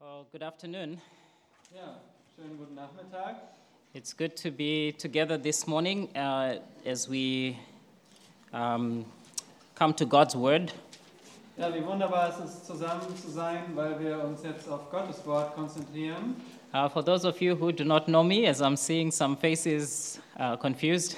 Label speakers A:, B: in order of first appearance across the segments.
A: So, good afternoon.
B: Ja, schönen guten Nachmittag.
A: It's good to be together this morning uh, as we um, come to God's Word.
B: Ja, wie wunderbar es ist, zusammen zu sein, weil wir uns jetzt auf Gottes Wort konzentrieren.
A: Uh, for those of you who do not know me, as I'm seeing some faces uh, confused,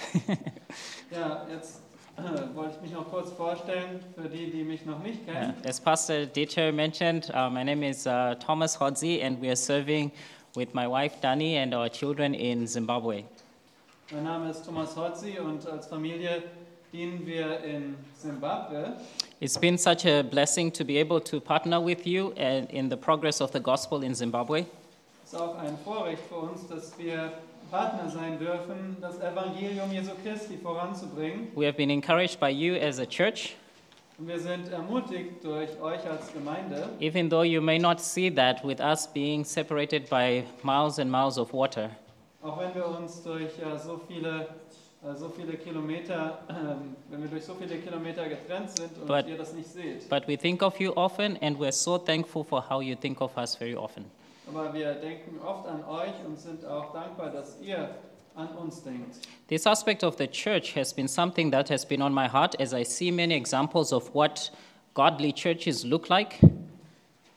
B: Ja, jetzt äh, wollte ich mich noch kurz vorstellen für die, die mich noch nicht
A: uh,
B: kennen.
A: as Pastor Dieter mentioned, uh, my name is uh, Thomas Hodzi, and we are serving with my wife Dani and our children in Zimbabwe.
B: Mein Name ist Thomas Hotzi und als Familie dienen wir in Simbabwe.
A: It's been such a blessing to be able to partner with you and in the progress of the gospel in Zimbabwe.
B: Es ist auch ein Vorrecht für uns, dass wir Partner sein dürfen, das Evangelium Jesu Christi voranzubringen.
A: We have been encouraged by you as a church.
B: Und wir sind ermutigt durch euch als Gemeinde.
A: Even though you may not see that with us being separated by miles and miles of water,
B: Auch wenn wir uns durch äh, so viele äh, so viele Kilometer, ähm, wenn wir durch so viele Kilometer getrennt sind und
A: But-
B: ihr das nicht seht.
A: but we think of you often and we're so thankful for how you think of us very often.
B: Aber wir denken oft an euch und sind auch dankbar, dass ihr an uns denkt.
A: This aspect of the church has been something that has been on my heart as I see many examples of what godly churches look like.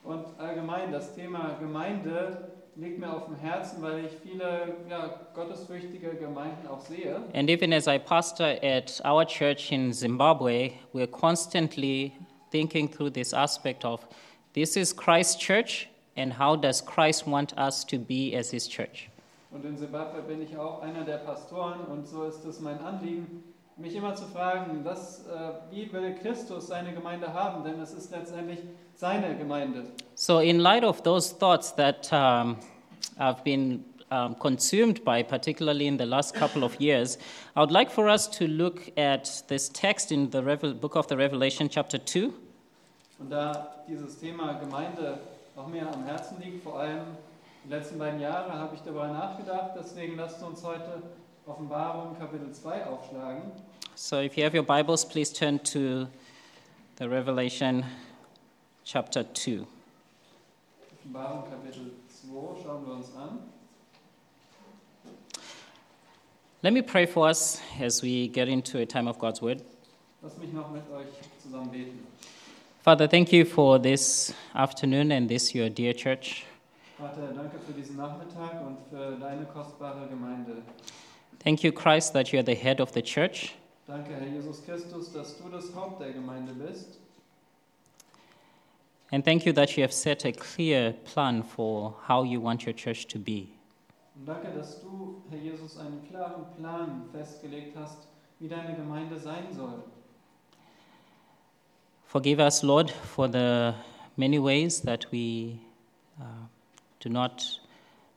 B: Und allgemein das Thema Gemeinde liegt mir auf dem Herzen, weil ich viele ja, gottesfürchtige Gemeinden auch sehe.
A: And even as I pastor at our church in Zimbabwe, we're constantly thinking through this aspect of this is Christ's church and how does Christ want us to be as his church?
B: Und in Simbabwe bin ich auch einer der Pastoren und so ist es mein Anliegen, mich immer zu fragen, dass, äh, wie will Christus seine Gemeinde haben, denn es ist letztendlich seine Gemeinde.
A: So, in light of those thoughts that um, have been um, consumed by, particularly in the last couple of years, I would like for us to look at this text in the Revel- book of the Revelation, chapter 2.
B: Und da dieses Thema Gemeinde auch mir am Herzen liegt, vor allem die letzten beiden Jahre habe ich darüber nachgedacht, deswegen lasst uns heute Offenbarung Kapitel 2 aufschlagen.
A: So, if you have your Bibles, please turn to the Revelation, chapter 2.
B: Offenbarung Kapitel 2 schauen wir uns an.
A: Let me pray for us as we get into a time of God's word.
B: Lasst mich noch mit euch zusammen beten.
A: Father, thank you for this afternoon and this, your dear church.
B: Vater, danke für diesen Nachmittag und für deine kostbare Gemeinde.
A: Thank you, Christ, that you are the head of the church.
B: Danke, Herr Jesus Christus, dass du das Haupt der Gemeinde bist.
A: And thank you that you have set a clear plan for how you want your church to be.
B: Und danke, dass du, Herr Jesus, einen klaren Plan festgelegt hast, wie deine Gemeinde sein soll.
A: Forgive us, Lord, for the many ways that we uh, do not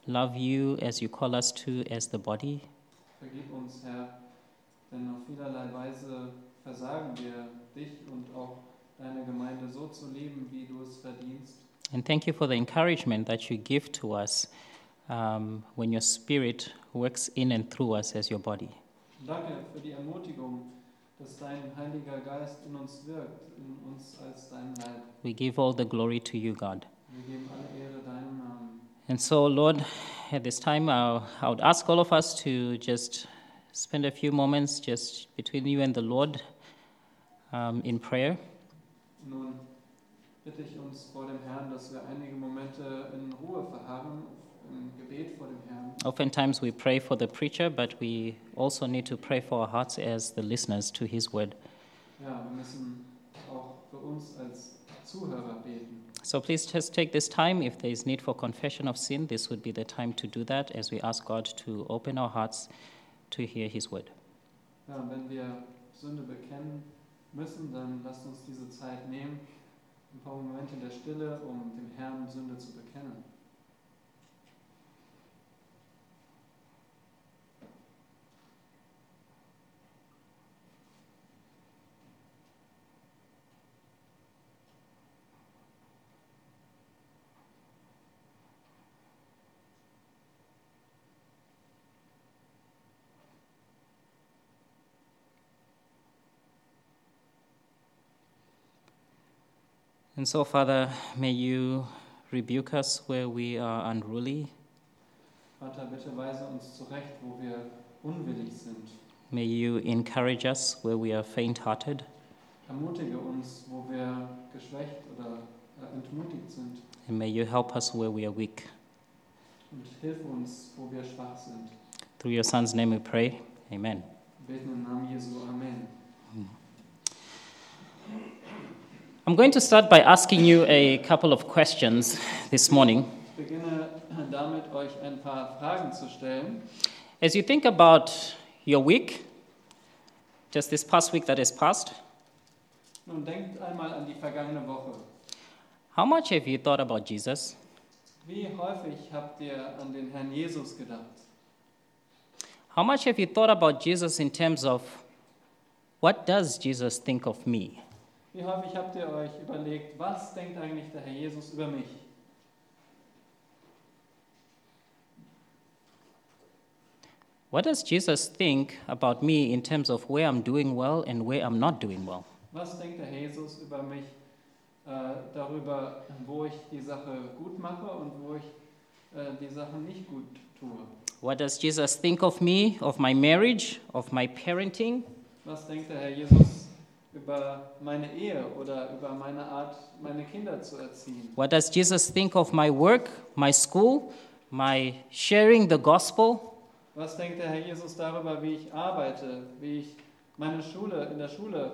A: love you as you call us to as the body.
B: Vergib uns, Herr, denn auf vielerlei Weise versagen wir dich und auch deine Gemeinde so zu leben, wie du es verdienst.
A: And thank you for the encouragement that you give to us um, when your spirit works in and through us as your body.
B: Und danke für die Ermutigung, dass dein Heiliger Geist in uns wirkt, in uns als dein Leib.
A: We give all the glory to you, God.
B: Wir geben alle Ehre deinem Namen.
A: And so, Lord, at this time, I'll, I would ask all of us to just spend a few moments just between you and the Lord um, in prayer.
B: Nun bitte ich uns vor dem Herrn, dass wir einige Momente in Ruhe verharren, im Gebet vor dem Herrn.
A: Oftentimes, we pray for the preacher, but we also need to pray for our hearts as the listeners to his word.
B: Ja, wir müssen auch für uns als Zuhörer beten.
A: So please just take this time. If there is need for confession of sin, this would be the time to do that as we ask God to open our hearts to hear His word.
B: Ja, und wenn wir Sünde bekennen müssen, dann lasst uns diese Zeit nehmen, ein paar Momente der Stille, um dem Herrn Sünde zu bekennen.
A: And so, Father, may you rebuke us where we are unruly.
B: Vater, bitte weise uns zurecht, wo wir unwillig sind.
A: May you encourage us where we are faint hearted.
B: Ermutige uns, wo wir geschwächt oder äh, entmutigt sind.
A: And may you help us where we are weak.
B: Und hilf uns, wo wir schwach sind.
A: Through your Son's name we pray. Amen.
B: Wir beten im Namen Jesu. Amen.
A: I'm going to start by asking you a couple of questions this morning.
B: Ich beginne damit, euch ein paar Fragen zu stellen.
A: As you think about your week, just this past week that has passed,
B: Nun denkt einmal an die vergangene Woche.
A: how much have you thought about Jesus?
B: Wie häufig habt ihr an den Herrn Jesus gedacht?
A: How much have you thought about Jesus in terms of what does Jesus think of me?
B: Wie häufig habt ihr euch überlegt, was denkt eigentlich der Herr Jesus über mich?
A: What does Jesus think about me in terms of where I'm doing well and where I'm not doing well?
B: Was denkt der Herr Jesus über mich äh, darüber, wo ich die Sache gut mache und wo ich äh, die Sachen nicht gut tue?
A: What does Jesus think of me, of my marriage, of my parenting?
B: Was denkt der Herr Jesus über meine Ehe oder über meine Art, meine Kinder zu erziehen?
A: What does Jesus think of my work, my school, my sharing the gospel?
B: Was denkt der Herr Jesus darüber, wie ich arbeite, wie ich meine Schule in der Schule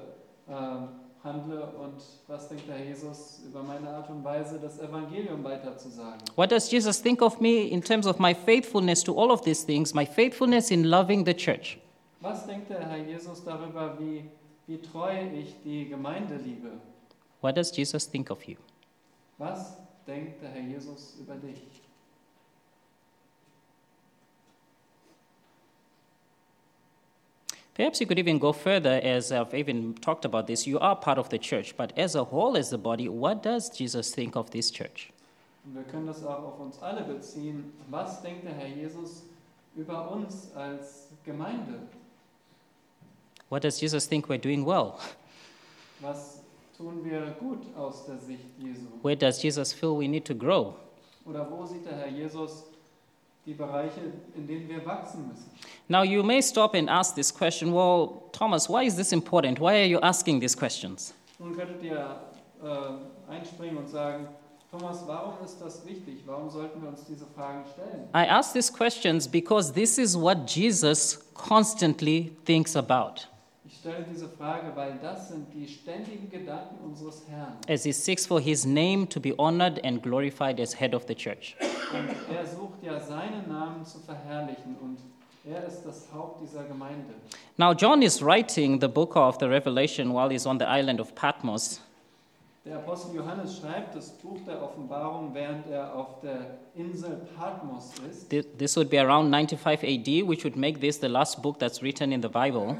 B: ähm, handle und was denkt der Herr Jesus über meine Art und Weise, das Evangelium weiterzusagen?
A: What does Jesus think of me in terms of my faithfulness to all of these things, my faithfulness in loving the church?
B: Was denkt der Herr Jesus darüber, wie, wie treu ich die Gemeinde liebe?
A: What does Jesus think of you?
B: Was denkt der Herr Jesus über dich?
A: Perhaps you could even go further, as I've even talked about this. You are part of the church, but as a whole, as a body, what does Jesus think of this church?
B: Und wir können das auch auf uns alle beziehen. Was denkt der Herr Jesus über uns als Gemeinde?
A: What does Jesus think we're doing well?
B: Was tun wir gut aus der Sicht Jesu?
A: Where does Jesus feel we need to grow?
B: Oder wo sieht der Herr Jesus die Bereiche, in denen wir wachsen müssen?
A: Now, you may stop and ask this question well, Thomas, why is this important? Why are you asking these questions?
B: Nun könntet ihr äh, einspringen und sagen, Thomas, warum ist das wichtig? Warum sollten wir uns diese Fragen stellen?
A: I ask these questions because this is what Jesus constantly thinks about
B: Ich stelle diese Frage, weil das sind die ständigen Gedanken unseres Herrn.
A: as he seeks for his name to be honored and glorified as head of the church.
B: Und er sucht ja seinen Namen zu verherrlichen und er ist das Haupt dieser Gemeinde.
A: Now, John is writing the book of the Revelation while he's on the island of Patmos.
B: Der Apostel Johannes schreibt das Buch der Offenbarung, während er auf der Insel Patmos ist.
A: Th- This would be around 95 AD, which would make this the last book that's written in the Bible.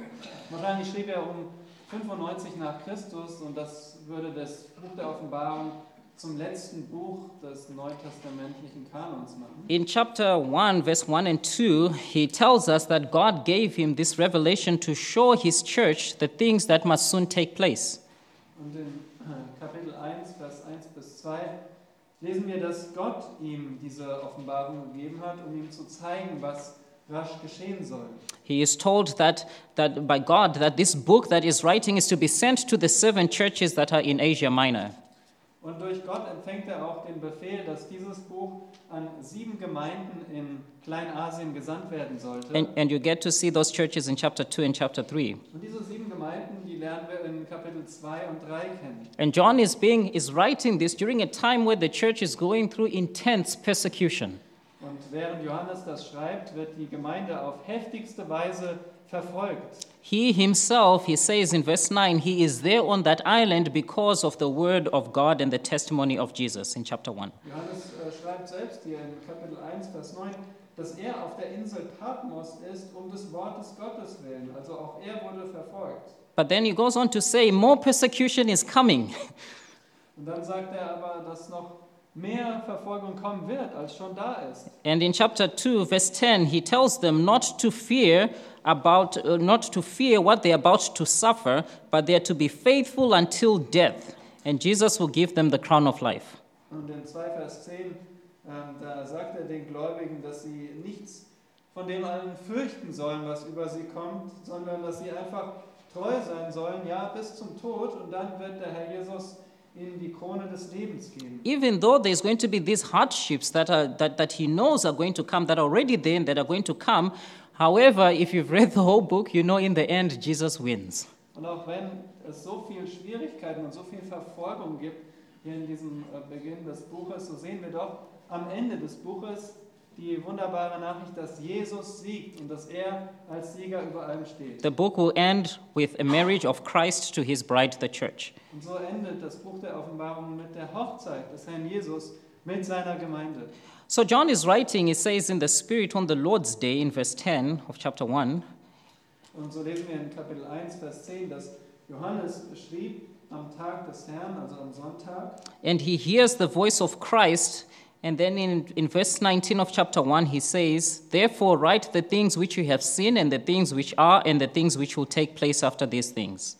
B: Wahrscheinlich schrieb er um 95 nach Christus und das würde das Buch der Offenbarung zum letzten Buch des neutestamentlichen Kanons machen.
A: In chapter 1, verse 1 and 2, he tells us that God gave him this revelation to show his church the things that must soon take place.
B: Und in äh, Kapitel 1, Vers 1 bis 2 lesen wir, dass Gott ihm diese Offenbarung gegeben hat, um ihm zu zeigen, was rasch geschehen soll.
A: He is told that, that by God that this book that he's writing is to be sent to the seven churches that are in Asia Minor.
B: Und durch Gott empfängt er auch den Befehl, dass dieses Buch an sieben Gemeinden in Kleinasien gesandt werden sollte.
A: And, and you get to see those churches in chapter 2 and chapter 3.
B: Und diese sieben Gemeinden, die lernen wir in Kapitel 2 und 3 kennen.
A: And John is, being, is writing this during a time where the church is going through intense persecution.
B: Und während Johannes das schreibt, wird die Gemeinde auf heftigste Weise verfolgt.
A: He himself, he says in verse 9, he is there on that island because of the word of God and the testimony of Jesus in chapter 1.
B: Johannes äh, schreibt selbst hier in Kapitel 1, Vers 9, dass er auf der Insel Patmos ist, um des Wortes Gottes willen. Also auch er wurde verfolgt.
A: But then he goes on to say, more persecution is coming.
B: Und dann sagt er aber, dass noch mehr Verfolgung kommen wird, als schon da ist.
A: And in chapter 2, verse 10, he tells them not to fear about uh, not to fear what they're about to suffer, but they're to be faithful until death, and Jesus will give them the crown of life.
B: Und in 2 Vers 10, ähm, da sagt er den Gläubigen, dass sie nichts von dem allen fürchten sollen, was über sie kommt, sondern dass sie einfach treu sein sollen, ja, bis zum Tod. Und dann wird der Herr Jesus ihnen die Krone des Lebens geben.
A: Even though there's going to be these hardships that, are, that, that he knows are going to come, that are already there and that are going to come, however, if you've read the whole book, you know in the end Jesus wins.
B: Und auch wenn es so viele Schwierigkeiten und so viel Verfolgung gibt, hier in diesem äh, Beginn des Buches, so sehen wir doch am Ende des Buches die wunderbare Nachricht, dass Jesus siegt und dass er als Sieger über allem steht.
A: The book will end with a marriage of Christ to his bride, the church.
B: Und so endet das Buch der Offenbarung mit der Hochzeit des Herrn Jesus mit seiner Gemeinde.
A: So John is writing, he says, in the Spirit on the Lord's Day in verse 10 of chapter 1.
B: Und so lesen wir in Kapitel 1, Vers 10, dass Johannes schrieb am Tag des Herrn, also am Sonntag,
A: And he hears the voice of Christ. And then in, in verse 19 of chapter 1, he says, Therefore, write the things which you have seen, and the things which are, and the things which will take place after these things.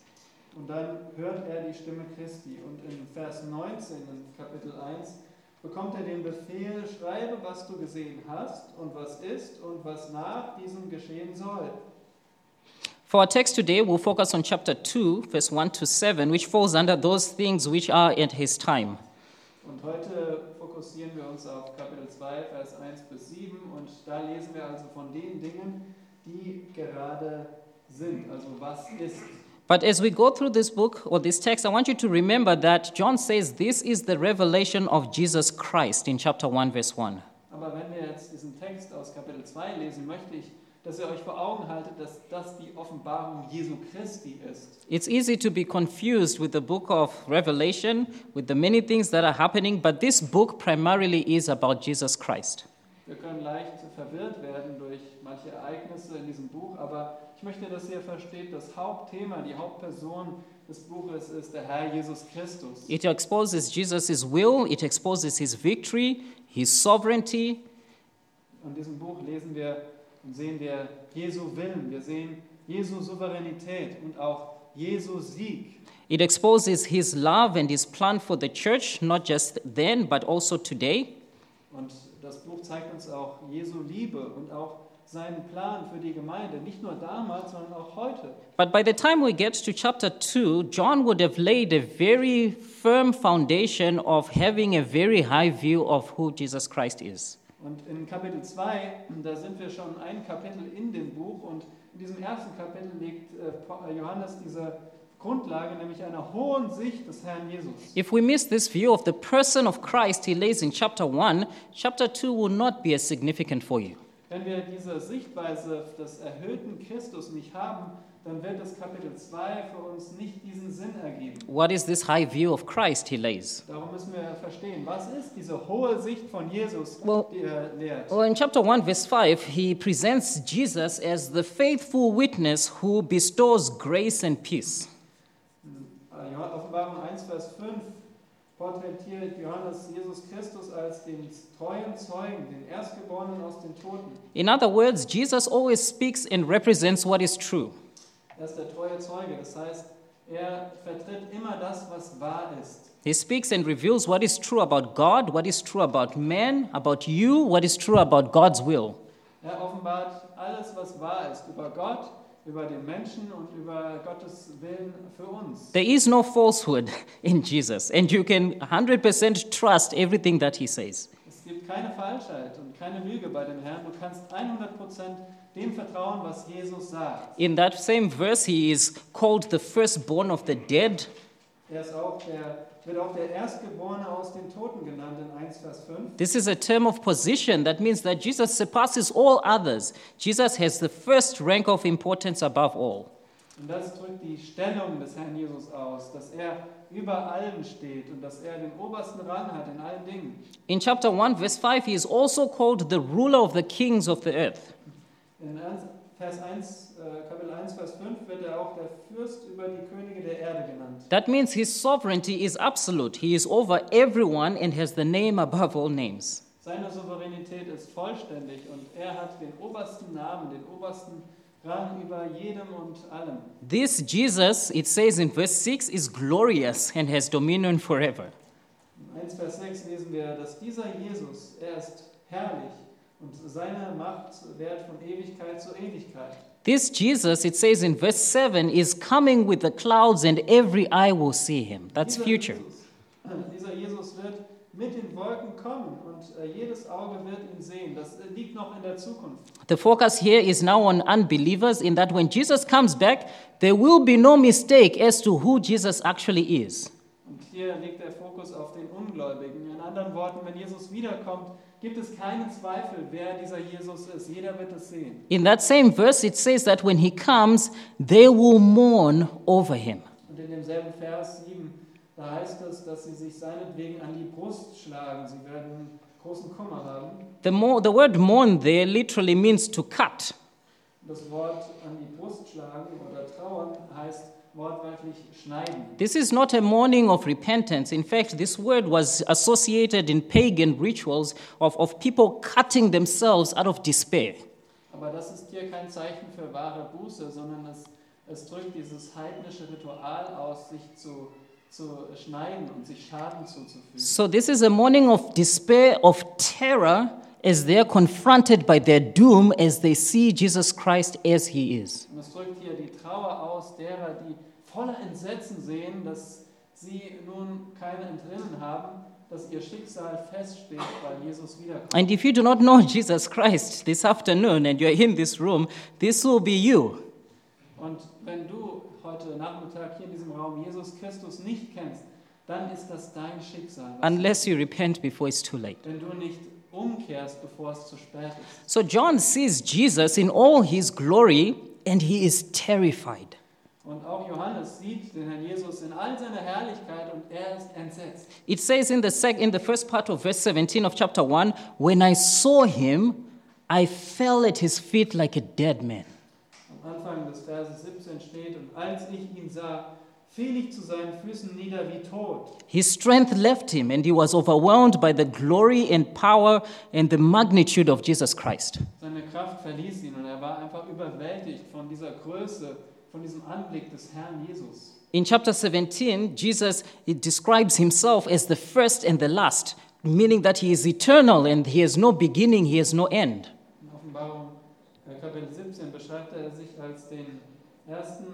B: Und dann hört er die Stimme Christi. Und in Vers 19 in Kapitel 1 bekommt er den Befehl, schreibe, was du gesehen hast und was ist und was nach diesem geschehen soll.
A: For our text today, we'll focus on chapter 2, verse 1 to 7, which falls under those things which are at his time.
B: Und heute fokussieren wir uns auf Kapitel 2, Vers 1 bis 7. Und da lesen wir also von den Dingen, die gerade sind, also was ist.
A: But as we go through this book or this text, I want you to remember that John says this is the revelation of Jesus Christ in chapter 1, verse 1.
B: Aber wenn wir jetzt diesen Text aus Kapitel 2 lesen, möchte ich, dass ihr euch vor Augen haltet, dass das die Offenbarung Jesu Christi ist.
A: It's easy to be confused with the book of Revelation, with the many things that are happening, but this book primarily is about Jesus Christ.
B: Wir können leicht verwirrt werden durch manche Ereignisse in diesem Buch, aber ich möchte, dass ihr versteht, das Hauptthema, die Hauptperson des Buches ist der Herr Jesus Christus.
A: It exposes Jesus' will, it exposes his victory, his sovereignty,
B: In diesem Buch lesen wir und sehen wir Jesu Willen, wir sehen Jesu Souveränität und auch Jesu Sieg.
A: it exposes his love and his plan for the church, not just then, but also today.
B: Und das Buch zeigt uns auch Jesu Liebe und auch seinen Plan für die Gemeinde, nicht nur damals, sondern auch heute.
A: But by the time we get to chapter 2, John would have laid a very firm foundation of having a very high view of who Jesus Christ is.
B: Und in Kapitel 2, da sind wir schon ein Kapitel in dem Buch und in diesem ersten Kapitel legt äh, Pa- äh, Johannes diese Grundlage, nämlich einer hohen Sicht des Herrn Jesus.
A: If we miss this view of the person of Christ he lays in chapter 1, chapter 2 will not be as significant for you.
B: Wenn wir diese Sichtweise des erhöhten Christus nicht haben, dann wird das Kapitel 2 für uns nicht diesen Sinn ergeben.
A: What is this high view of Christ he lays?
B: Darum müssen wir verstehen, was ist diese hohe Sicht von Jesus,
A: Well-
B: die er lehrt.
A: Well, in chapter 1, verse 5, he presents Jesus as the faithful witness who bestows grace and peace.
B: Äh, Johann- Offenbarung 1, Vers 5 porträtiert Johannes Jesus Christus als den treuen Zeugen, den Erstgeborenen aus den Toten.
A: In other words, Jesus always speaks and represents what is true.
B: Er ist der treue Zeuge, das heißt, er vertritt immer das, was wahr ist.
A: He speaks and reveals what is true about God, what is true about man, about you, what is true about God's will.
B: Er offenbart alles, was wahr ist, über Gott, über den Menschen und über Gottes Willen für uns.
A: There is no falsehood in Jesus, and you can 100% trust everything that he says.
B: Es gibt keine Falschheit und keine Lüge bei dem Herrn. Du kannst 100% dem vertrauen, was Jesus sagt.
A: In that same verse, he is called the firstborn of the dead.
B: Er ist auch der, wird auch der Erstgeborene aus den Toten genannt in 1 Vers 5.
A: This is a term of position that means that Jesus surpasses all others. Jesus has the first rank of importance above all.
B: Und das drückt die Stellung des Herrn Jesus aus, dass er über allen steht und dass er den obersten Rang hat in allen Dingen.
A: In chapter 1, verse 5, he is also called the ruler of the kings of the earth.
B: In 1 Vers 1, äh, Kapitel 1, Vers 5 wird er auch der Fürst über die Könige der Erde genannt.
A: That means his sovereignty is absolute. He is over everyone and has the name above all names.
B: Seine Souveränität ist vollständig und er hat den obersten Namen, den obersten Rang über jedem und allem.
A: This Jesus, it says in verse 6, is glorious and has dominion forever.
B: 1, Vers 6 lesen wir, dass dieser Jesus, er ist herrlich und seine Macht währt von Ewigkeit zu Ewigkeit.
A: This Jesus, it says in verse 7, is coming with the clouds and every eye will see him. That's
B: Dieser
A: future.
B: Jesus, äh, dieser Jesus wird mit den Wolken kommen und äh, jedes Auge wird ihn sehen. Das äh, liegt noch in der Zukunft.
A: The focus here is now on unbelievers, in that when Jesus comes back, there will be no mistake as to who Jesus actually is.
B: Und hier liegt der Fokus auf den Ungläubigen. In anderen Worten, wenn Jesus wiederkommt, gibt es keinen Zweifel, wer dieser Jesus ist. Jeder wird es sehen.
A: In that same verse, it says that when he comes, they will mourn over him.
B: Und in demselben Vers 7, da heißt es, dass sie sich seinetwegen an die Brust schlagen. Sie werden großen Kummer haben.
A: The, mo- the word mourn there literally means to cut.
B: Das Wort an die Brust schlagen oder trauern heißt wortwörtlich schneiden.
A: This is not a mourning of repentance. In fact, this word was associated in pagan rituals of, of people cutting themselves out of despair.
B: Aber das ist hier kein Zeichen für wahre Buße, sondern es, es drückt dieses heidnische Ritual aus, sich zu, zu schneiden und sich Schaden zuzufügen.
A: So, this is a mourning of despair, of terror, as they are confronted by their doom as they see Jesus Christ as he is.
B: Und es drückt hier die Trauer aus derer, die voller Entsetzen sehen, dass sie nun kein Entrinnen haben, dass ihr Schicksal feststeht, weil Jesus wiederkommt.
A: And if you do not know Jesus Christ this afternoon and you're in this room, this will be you.
B: Und wenn du heute Nachmittag hier in diesem Raum Jesus Christus nicht kennst, dann ist das dein Schicksal, was-
A: unless you repent before it's too late.
B: wenn du nicht umkehrst, bevor es zu spät ist.
A: So John sees Jesus in all his glory and he is terrified.
B: Und auch Johannes sieht den Herrn Jesus in all seiner Herrlichkeit und er ist entsetzt.
A: It says in the, sec- in the first part of verse 17 of chapter 1 When I saw him, I fell at his feet like a dead man.
B: Am Anfang des Verses 17 steht, und als ich ihn sah, fiel ich zu seinen Füßen nieder wie tot.
A: His strength left him and he was overwhelmed by the glory and power and the magnitude of Jesus Christ.
B: Seine Kraft verließ ihn und er war einfach überwältigt von dieser Größe, von diesem Anblick des Herrn Jesus.
A: In chapter 17, Jesus he describes himself as the first and the last, meaning that he is eternal and he has no beginning, he has no end.
B: In Offenbarung äh, Kapitel 17 beschreibt er sich als den ersten,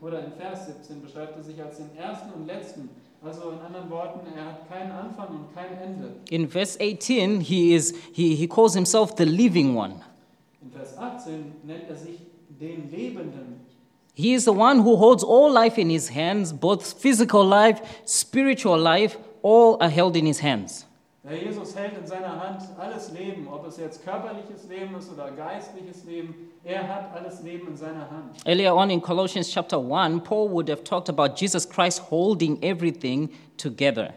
B: oder in Vers 17 beschreibt er sich als den ersten und letzten. Also in anderen Worten, er hat keinen Anfang und kein Ende.
A: In verse 18, he, is, he, he calls himself the living one.
B: In Vers 18 nennt er sich den Lebenden.
A: He is the one who holds all life in his hands, both physical life, spiritual life, all are held in his hands.
B: Der Jesus hält in seiner Hand alles Leben, ob es jetzt körperliches Leben ist oder geistliches Leben. Er hat alles Leben in seiner Hand.
A: Earlier on in Colossians chapter 1, Paul would have talked about Jesus Christ holding everything together.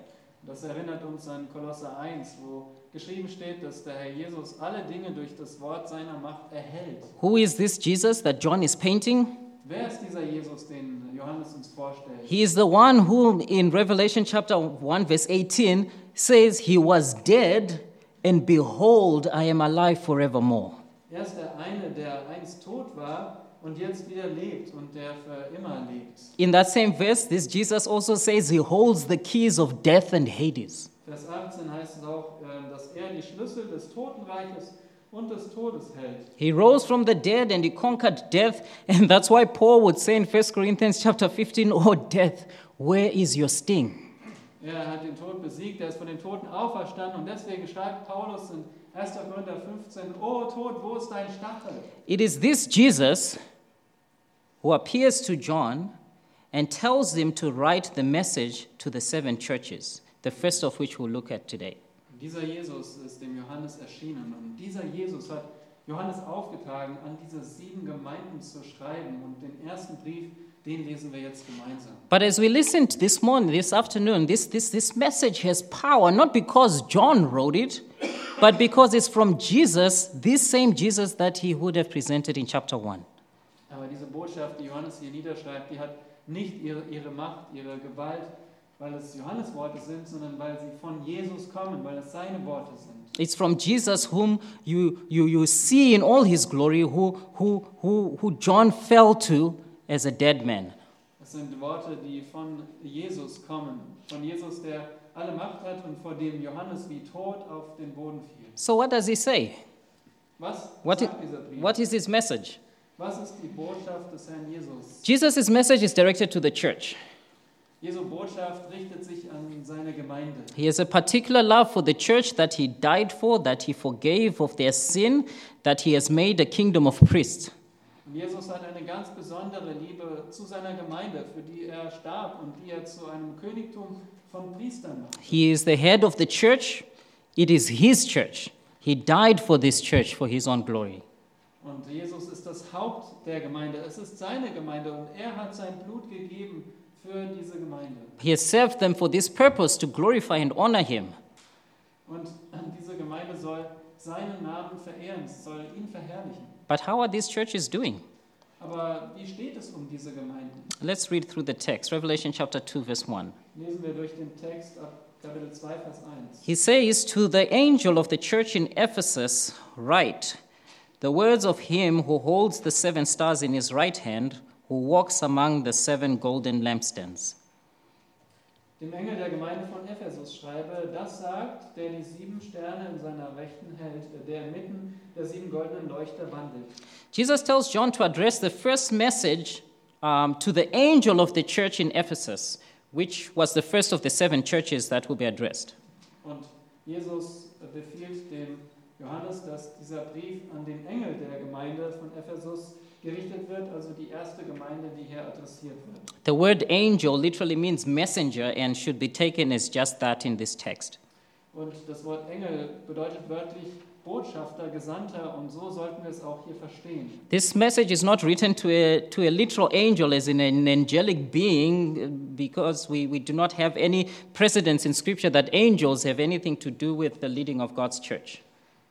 B: Das erinnert uns an Kolosser 1, wo geschrieben steht, dass der Herr Jesus alle Dinge durch das Wort seiner Macht erhält.
A: Who is this Jesus that John is painting?
B: Wer ist dieser Jesus, den Johannes uns vorstellt?
A: He is the one who, in Revelation chapter 1, verse 18, says, He was dead, and behold, I am alive forevermore.
B: Er ist der eine, der einst tot war und jetzt wieder lebt und der für immer lebt.
A: In that same verse, this Jesus also says, He holds the keys of death and Hades.
B: Vers 18 heißt es auch, äh, dass er die Schlüssel des Totenreiches und des Todes hält.
A: He rose from the dead and he conquered death. And that's why Paul would say in 1 Corinthians chapter 15, Oh, death, where is your sting?
B: Er hat den Tod besiegt, er ist von den Toten auferstanden und deswegen schreibt Paulus in 1. Korinther 15, O Tod, wo ist dein Stachel?
A: It is this Jesus who appears to John and tells him to write the message to the seven churches, the first of which we'll look at today.
B: Dieser Jesus ist dem Johannes erschienen und dieser Jesus hat Johannes aufgetragen, an diese sieben Gemeinden zu schreiben und den ersten Brief, den lesen wir jetzt gemeinsam.
A: But as we listened this morning, this afternoon, this, this, this message has power, not because John wrote it, but because it's from Jesus, this same Jesus that he would have presented in chapter 1.
B: Aber diese Botschaft, die Johannes hier niederschreibt, die hat nicht ihre, ihre Macht, ihre Gewalt, weil es Johannes Worte sind, sondern weil sie von Jesus kommen, weil es seine Worte sind.
A: It's from Jesus whom you, you, you see in all his glory, who, who, who, who John fell to as a dead man.
B: Es sind Worte, die von Jesus kommen, von Jesus, der alle Macht hat und vor dem Johannes wie tot auf den Boden fiel.
A: So, what does he say?
B: Was
A: What
B: sagt
A: i-
B: dieser Brief?
A: What is his message?
B: Was ist die Botschaft des Herrn Jesus?
A: Jesus' message is directed to the church.
B: Jesu Botschaft richtet sich an seine Gemeinde.
A: He has a particular love for the church that he died for, that he forgave of their sin, that he has made a kingdom of priests.
B: Und Jesus hat eine ganz besondere Liebe zu seiner Gemeinde, für die er starb und die er zu einem Königtum von Priestern macht.
A: He is the head of the church. It is his church. He died for this church for his own glory.
B: Und Jesus ist das Haupt der Gemeinde. Es ist seine Gemeinde und er hat sein Blut gegeben für diese Gemeinde.
A: He has served them for this purpose to glorify and honor him.
B: Und äh, diese Gemeinde soll seinen Namen verehren, sie soll ihn verherrlichen.
A: But how are these churches doing?
B: Aber wie steht es um diese Gemeinden?
A: Let's read through the text Revelation chapter 2, verse 1.
B: Lesen wir durch den Text ab Kapitel 2, Vers 1.
A: He says, To the angel of the church in Ephesus, write the words of him who holds the seven stars in his right hand, who walks among the seven golden lampstands.
B: Dem Engel der Gemeinde von Ephesus schreibe, das sagt, der die sieben Sterne in seiner Rechten hält, der inmitten der sieben goldenen Leuchter wandelt.
A: Jesus tells John to address the first message um, to the angel of the church in Ephesus, which was the first of the seven churches that will be addressed.
B: Und Jesus befiehlt dem Johannes, dass dieser Brief an den Engel der Gemeinde von Ephesus gerichtet wird, also die erste Gemeinde, die hier adressiert wird.
A: The word angel literally means messenger and should be taken as just that in this text.
B: Und das Wort Engel bedeutet wörtlich Botschafter, Gesandter und so sollten wir es auch hier verstehen.
A: This message is not written to a, to a literal angel as in an angelic being uh, because we, we do not have any precedence in Scripture that angels have anything to do with the leading of God's church.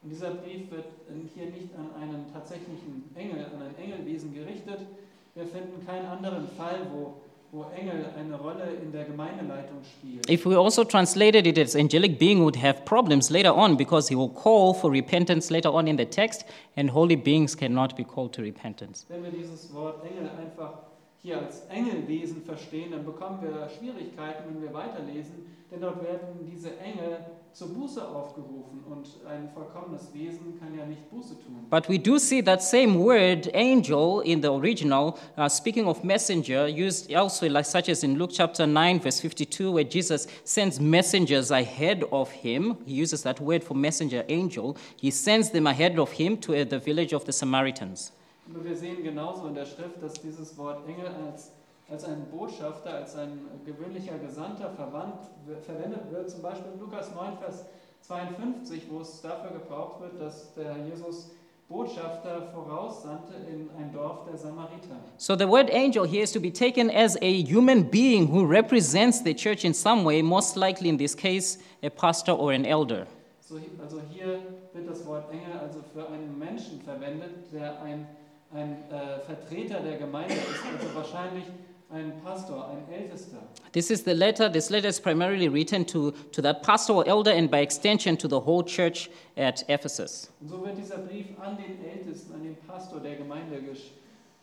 B: Und dieser Brief wird ähm, hier nicht an einen tatsächlichen Engel, an ein Engelwesen gerichtet. Wir finden keinen anderen Fall, wo, wo Engel eine Rolle in der Gemeindeleitung spielen.
A: If we also translated it as angelic being, we would have problems later on because he will call for repentance later on in the text, and holy beings cannot be called to repentance.
B: Wenn wir dieses Wort Engel einfach hier als Engelwesen verstehen, dann bekommen wir Schwierigkeiten, wenn wir weiterlesen, denn dort werden diese Engel zur Buße aufgerufen und ein vollkommenes Wesen kann ja nicht Buße tun.
A: But we do see that same word, angel, in the original, uh, speaking of messenger, used elsewhere, like such as in Luke chapter 9, verse 52, where Jesus sends messengers ahead of him. He uses that word for messenger, angel. He sends them ahead of him to uh, the village of the Samaritans.
B: Aber wir sehen genauso in der Schrift, dass dieses Wort Engel als, als ein Botschafter, als ein gewöhnlicher Gesandter verwandt, verwendet wird, zum Beispiel in Lukas 9, Vers 52, wo es dafür gebraucht wird, dass der Herr Jesus Botschafter voraussandte in ein Dorf der Samariter.
A: So the word angel here is to be taken as a human being who represents the church in some way, most likely in this case, a pastor or an elder.
B: So, hi- also hier wird das Wort Engel also für einen Menschen verwendet, der ein, ein äh, Vertreter der Gemeinde ist, also wahrscheinlich ein Pastor, ein Ältester.
A: This is the letter. This letter is primarily written to, to that pastor or elder and by extension to the whole church at Ephesus.
B: Und so wird dieser Brief an den Ältesten, an den Pastor der Gemeinde gesch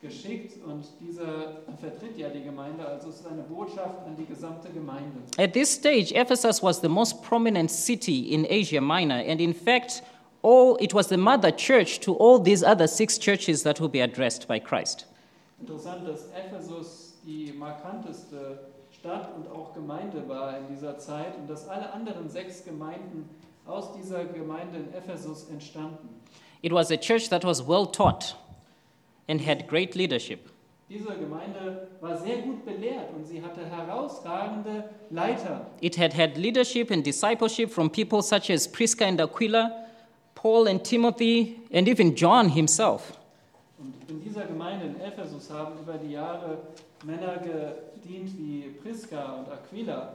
B: geschickt und dieser vertritt ja die Gemeinde, also es ist eine Botschaft an die gesamte Gemeinde.
A: At this stage, Ephesus was the most prominent city in Asia Minor, and in fact, all, it was the mother church to all these other six churches that will be addressed by Christ.
B: Interessant, dass Ephesus die markanteste Stadt und auch Gemeinde war in dieser Zeit und dass alle anderen sechs Gemeinden aus dieser Gemeinde in Ephesus entstanden.
A: It was a church that was well taught and had great leadership.
B: Diese Gemeinde war sehr gut belehrt und sie hatte herausragende Leiter.
A: It had had leadership and discipleship from people such as Prisca and Aquila, Paul and Timothy, and even John himself.
B: Und in dieser Gemeinde in Ephesus haben über die Jahre Männer gedient wie Prisca und Aquila.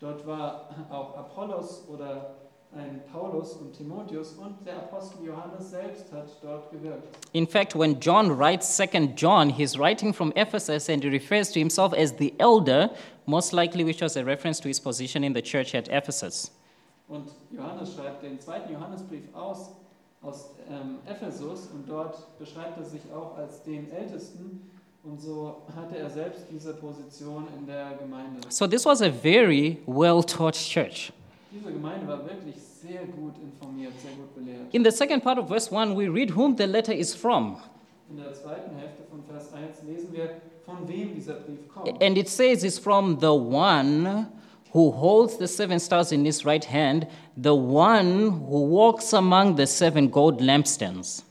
B: Dort war auch Apollos oder ein Paulus und Timotheus und der Apostel Johannes selbst hat dort gewirkt.
A: In fact, when John writes Second John, he's writing from Ephesus and he refers to himself as the elder, most likely which was a reference to his position in the church at Ephesus.
B: Und Johannes schreibt den zweiten Johannesbrief aus, aus ähm, Ephesus und dort beschreibt er sich auch als den Ältesten. Und so hatte er selbst diese Position in der Gemeinde.
A: So this was a very well taught church.
B: Diese Gemeinde war wirklich sehr gut informiert, sehr gut belehrt.
A: In the second part of verse 1, we read whom the letter is from.
B: In der zweiten Hälfte von Vers 1 lesen wir, von wem dieser Brief kommt.
A: And it says it's from the one who holds the seven stars in his right hand, the one who walks among the seven gold lampstands.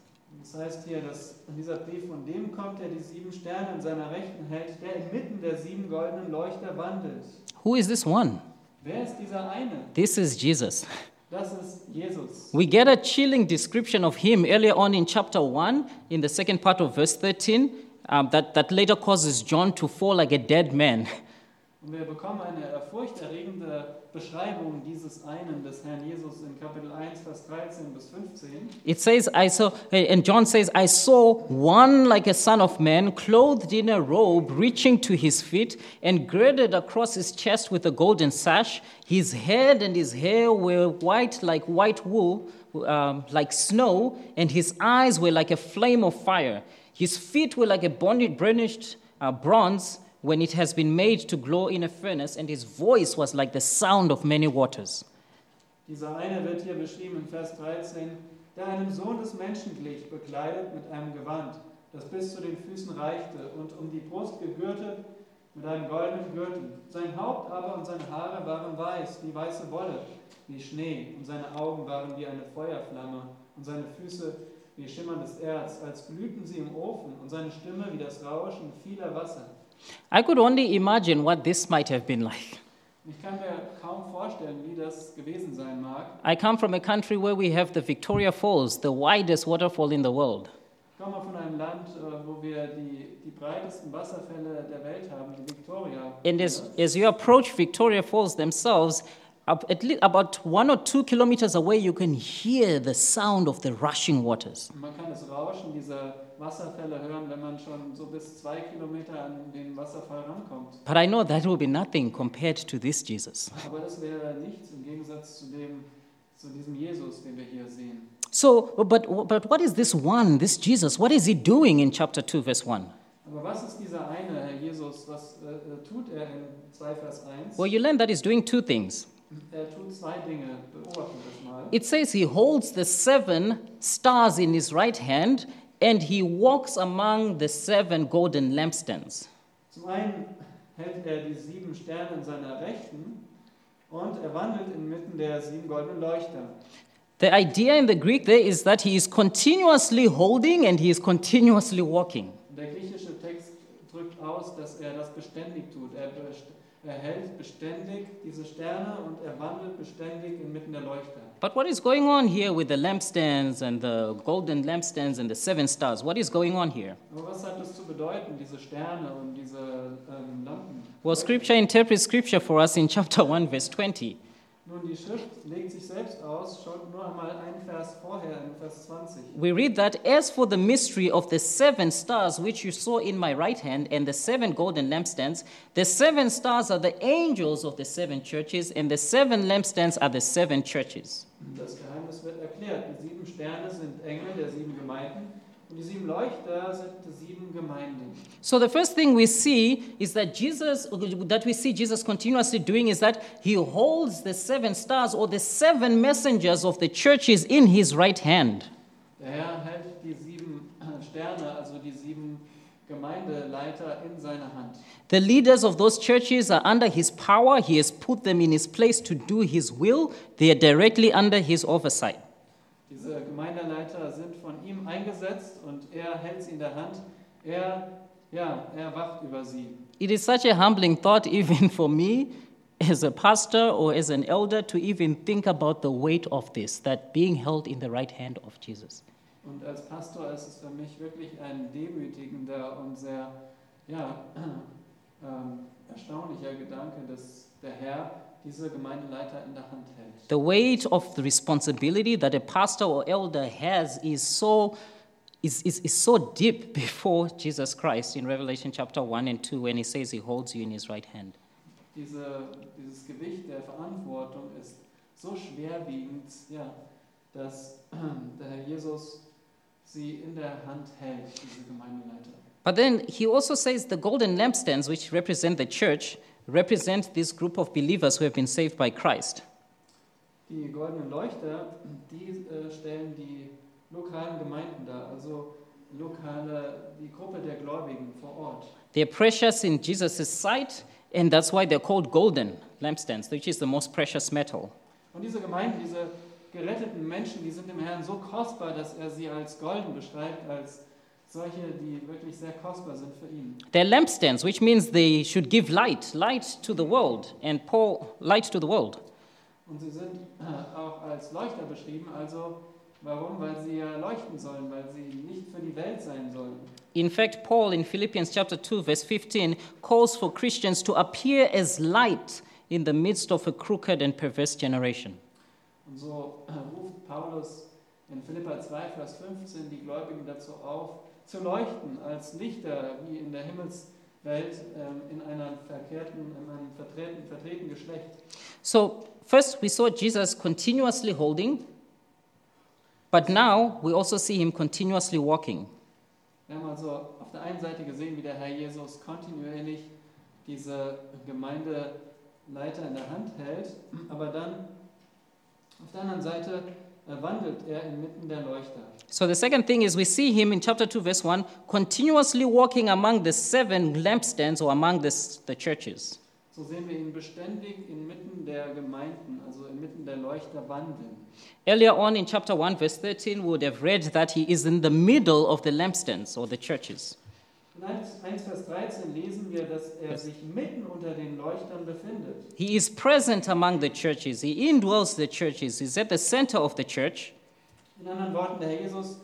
B: Das heißt hier, dass dieser Brief von dem kommt, der die sieben Sterne in seiner Rechten hält, der inmitten der sieben goldenen Leuchter wandelt.
A: Who is this one?
B: Wer ist dieser eine?
A: This is Jesus.
B: Das ist Jesus.
A: We get a chilling description of him earlier on in chapter 1, in the second part of verse 13, um, that, that later causes John to fall like a dead man.
B: Und wir bekommen eine furchterregende Beschreibung dieses einen des Herrn Jesus in Kapitel 1, Vers 13 bis 15.
A: It says, I saw, and John says, I saw one like a son of man, clothed in a robe reaching to his feet, and girded across his chest with a golden sash. His head and his hair were white like white wool, um, like snow, and his eyes were like a flame of fire. His feet were like a bonded, burnished uh, bronze when it has been made to glow in a furnace, and his voice was like the sound of many waters.
B: Dieser eine wird hier beschrieben in Vers 13, der einem Sohn des Menschen glich, bekleidet mit einem Gewand, das bis zu den Füßen reichte und um die Brust gegürtet mit einem goldenen Gürtel. Sein Haupt aber und seine Haare waren weiß, wie weiße Wolle, wie Schnee, und seine Augen waren wie eine Feuerflamme, und seine Füße wie schimmerndes Erz, als glühten sie im Ofen, und seine Stimme wie das Rauschen vieler Wasser.
A: I could only imagine what this might have been like.
B: Ich kann mir kaum vorstellen, wie das gewesen sein mag.
A: I come from a country where we have the Victoria Falls, the widest waterfall in the world.
B: Ich komme von einem Land, äh, wo wir die, die breitesten Wasserfälle der Welt haben, die Victoria.
A: And as, as you approach Victoria Falls themselves, up at least about one or two kilometers away, you can hear the sound of the rushing waters.
B: Und Man kann das Rauschen dieser Wasserfälle hören, wenn man schon so bis zwei Kilometer an den Wasserfall rankommt.
A: But I know that will be nothing compared to this Jesus.
B: Aber das wäre nichts im Gegensatz zu, dem, zu diesem Jesus, den wir hier sehen.
A: So, but, but what is this one, this Jesus? What is he doing in chapter 2, verse 1?
B: Aber was ist dieser eine, Herr Jesus? Was äh, äh, tut er in 2 Vers 1?
A: Well, you learn that he's doing two things.
B: Er tut zwei Dinge, beobachten wir das mal.
A: It says he holds the seven stars in his right hand and he walks among the seven golden lampstands.
B: Zum einen hält er die sieben Sterne in seiner Rechten und er wandelt inmitten der sieben goldenen Leuchter.
A: The idea in the Greek there is that he is continuously holding and he is continuously walking.
B: Und der griechische Text drückt aus, dass er das beständig tut. Er, best er hält beständig diese Sterne und er wandelt beständig inmitten der Leuchter.
A: But what is going on here with the lampstands and the golden lampstands and the seven stars? What is going on here?
B: Aber was hat das zu bedeuten, diese Sterne und diese ähm, Lampen?
A: Well, scripture interprets scripture for us in chapter 1, verse 20.
B: Nun, die Schrift legt sich selbst aus. Schaut nur einmal einen Vers vorher, in Vers 20.
A: We read that, As for the mystery of the seven stars which you saw in my right hand and the seven golden lampstands, the seven stars are the angels of the seven churches, and the seven lampstands are the seven churches.
B: Das Geheimnis wird erklärt. Die sieben Sterne sind Engel der sieben Gemeinden und die sieben Leuchter sind die sieben Gemeinden.
A: So the first thing we see is that Jesus, that we see Jesus continuously doing is that he holds the seven stars or the seven messengers of the churches in his right hand.
B: Der Herr hält die sieben Sterne, also die sieben Gemeindeleiter, in seiner Hand.
A: The leaders of those churches are under his power. He has put them in his place to do his will. They are directly under his oversight.
B: Diese Gemeindeleiter sind von ihm eingesetzt und er hält sie in der Hand. Er, ja, er wacht über sie.
A: It is such a humbling thought, even for me as a pastor or as an elder, to even think about the weight of this, that being held in the right hand of Jesus.
B: Und als Pastor ist es für mich wirklich ein demütigender und sehr ja, ähm, erstaunlicher Gedanke, dass der Herr diese Gemeindeleiter in der Hand hält.
A: The weight of the responsibility that a pastor or elder has is so, is, is, is so deep before Jesus Christ in Revelation chapter 1 and 2 when he says he holds you in his right hand.
B: Diese, dieses Gewicht der Verantwortung ist so schwerwiegend, ja, dass der Herr Jesus sie in der Hand hält, diese Gemeindeleiter.
A: But then he also says the golden lampstands, which represent the church, represent this group of believers who have been saved by Christ.
B: Die goldenen Leuchter, die äh, stellen die lokalen Gemeinden dar, also lokale, die Gruppe der Gläubigen vor Ort.
A: They're precious in Jesus' sight, and that's why they're called golden lampstands, which is the most precious metal.
B: Und diese Gemeinden, diese geretteten Menschen, die sind dem Herrn so kostbar, dass er sie als golden beschreibt, als solche, die wirklich sehr kostbar sind für ihn.
A: They're lampstands, which means they should give light, light to the world, and Paul, light to the world.
B: Und sie sind äh, auch als Leuchter beschrieben, also warum? Weil sie ja leuchten sollen, weil sie nicht für die Welt sein sollen.
A: In fact, Paul in Philippians chapter 2, verse 15, calls for Christians to appear as light in the midst of a crooked and perverse generation.
B: Und so äh, ruft Paulus in Philippa 2, Vers 15 die Gläubigen dazu auf, zu leuchten als Lichter wie in der Himmelswelt ähm, in, einer verkehrten, in einem vertreten, vertreten Geschlecht.
A: So, first we saw Jesus continuously holding, but now we also see him continuously walking.
B: Wir haben also auf der einen Seite gesehen, wie der Herr Jesus kontinuierlich diese Gemeindeleiter in der Hand hält, aber dann auf der anderen Seite äh, wandelt er inmitten der Leuchter.
A: So, the second thing is we see him in chapter 2, verse 1, continuously walking among the seven lampstands or among the, s- the churches.
B: So sehen wir ihn beständig inmitten der Gemeinden, also inmitten der Leuchter wandeln.
A: Earlier on in chapter 1, verse 13, we would have read that he is in the middle of the lampstands or the churches.
B: In 1, 1 Vers 13 lesen wir, dass er
A: Yes.
B: sich mitten unter den Leuchtern befindet.
A: He is present among the churches, he indwells the churches, he's at the center of the church.
B: In anderen Worten, der Herr Jesus,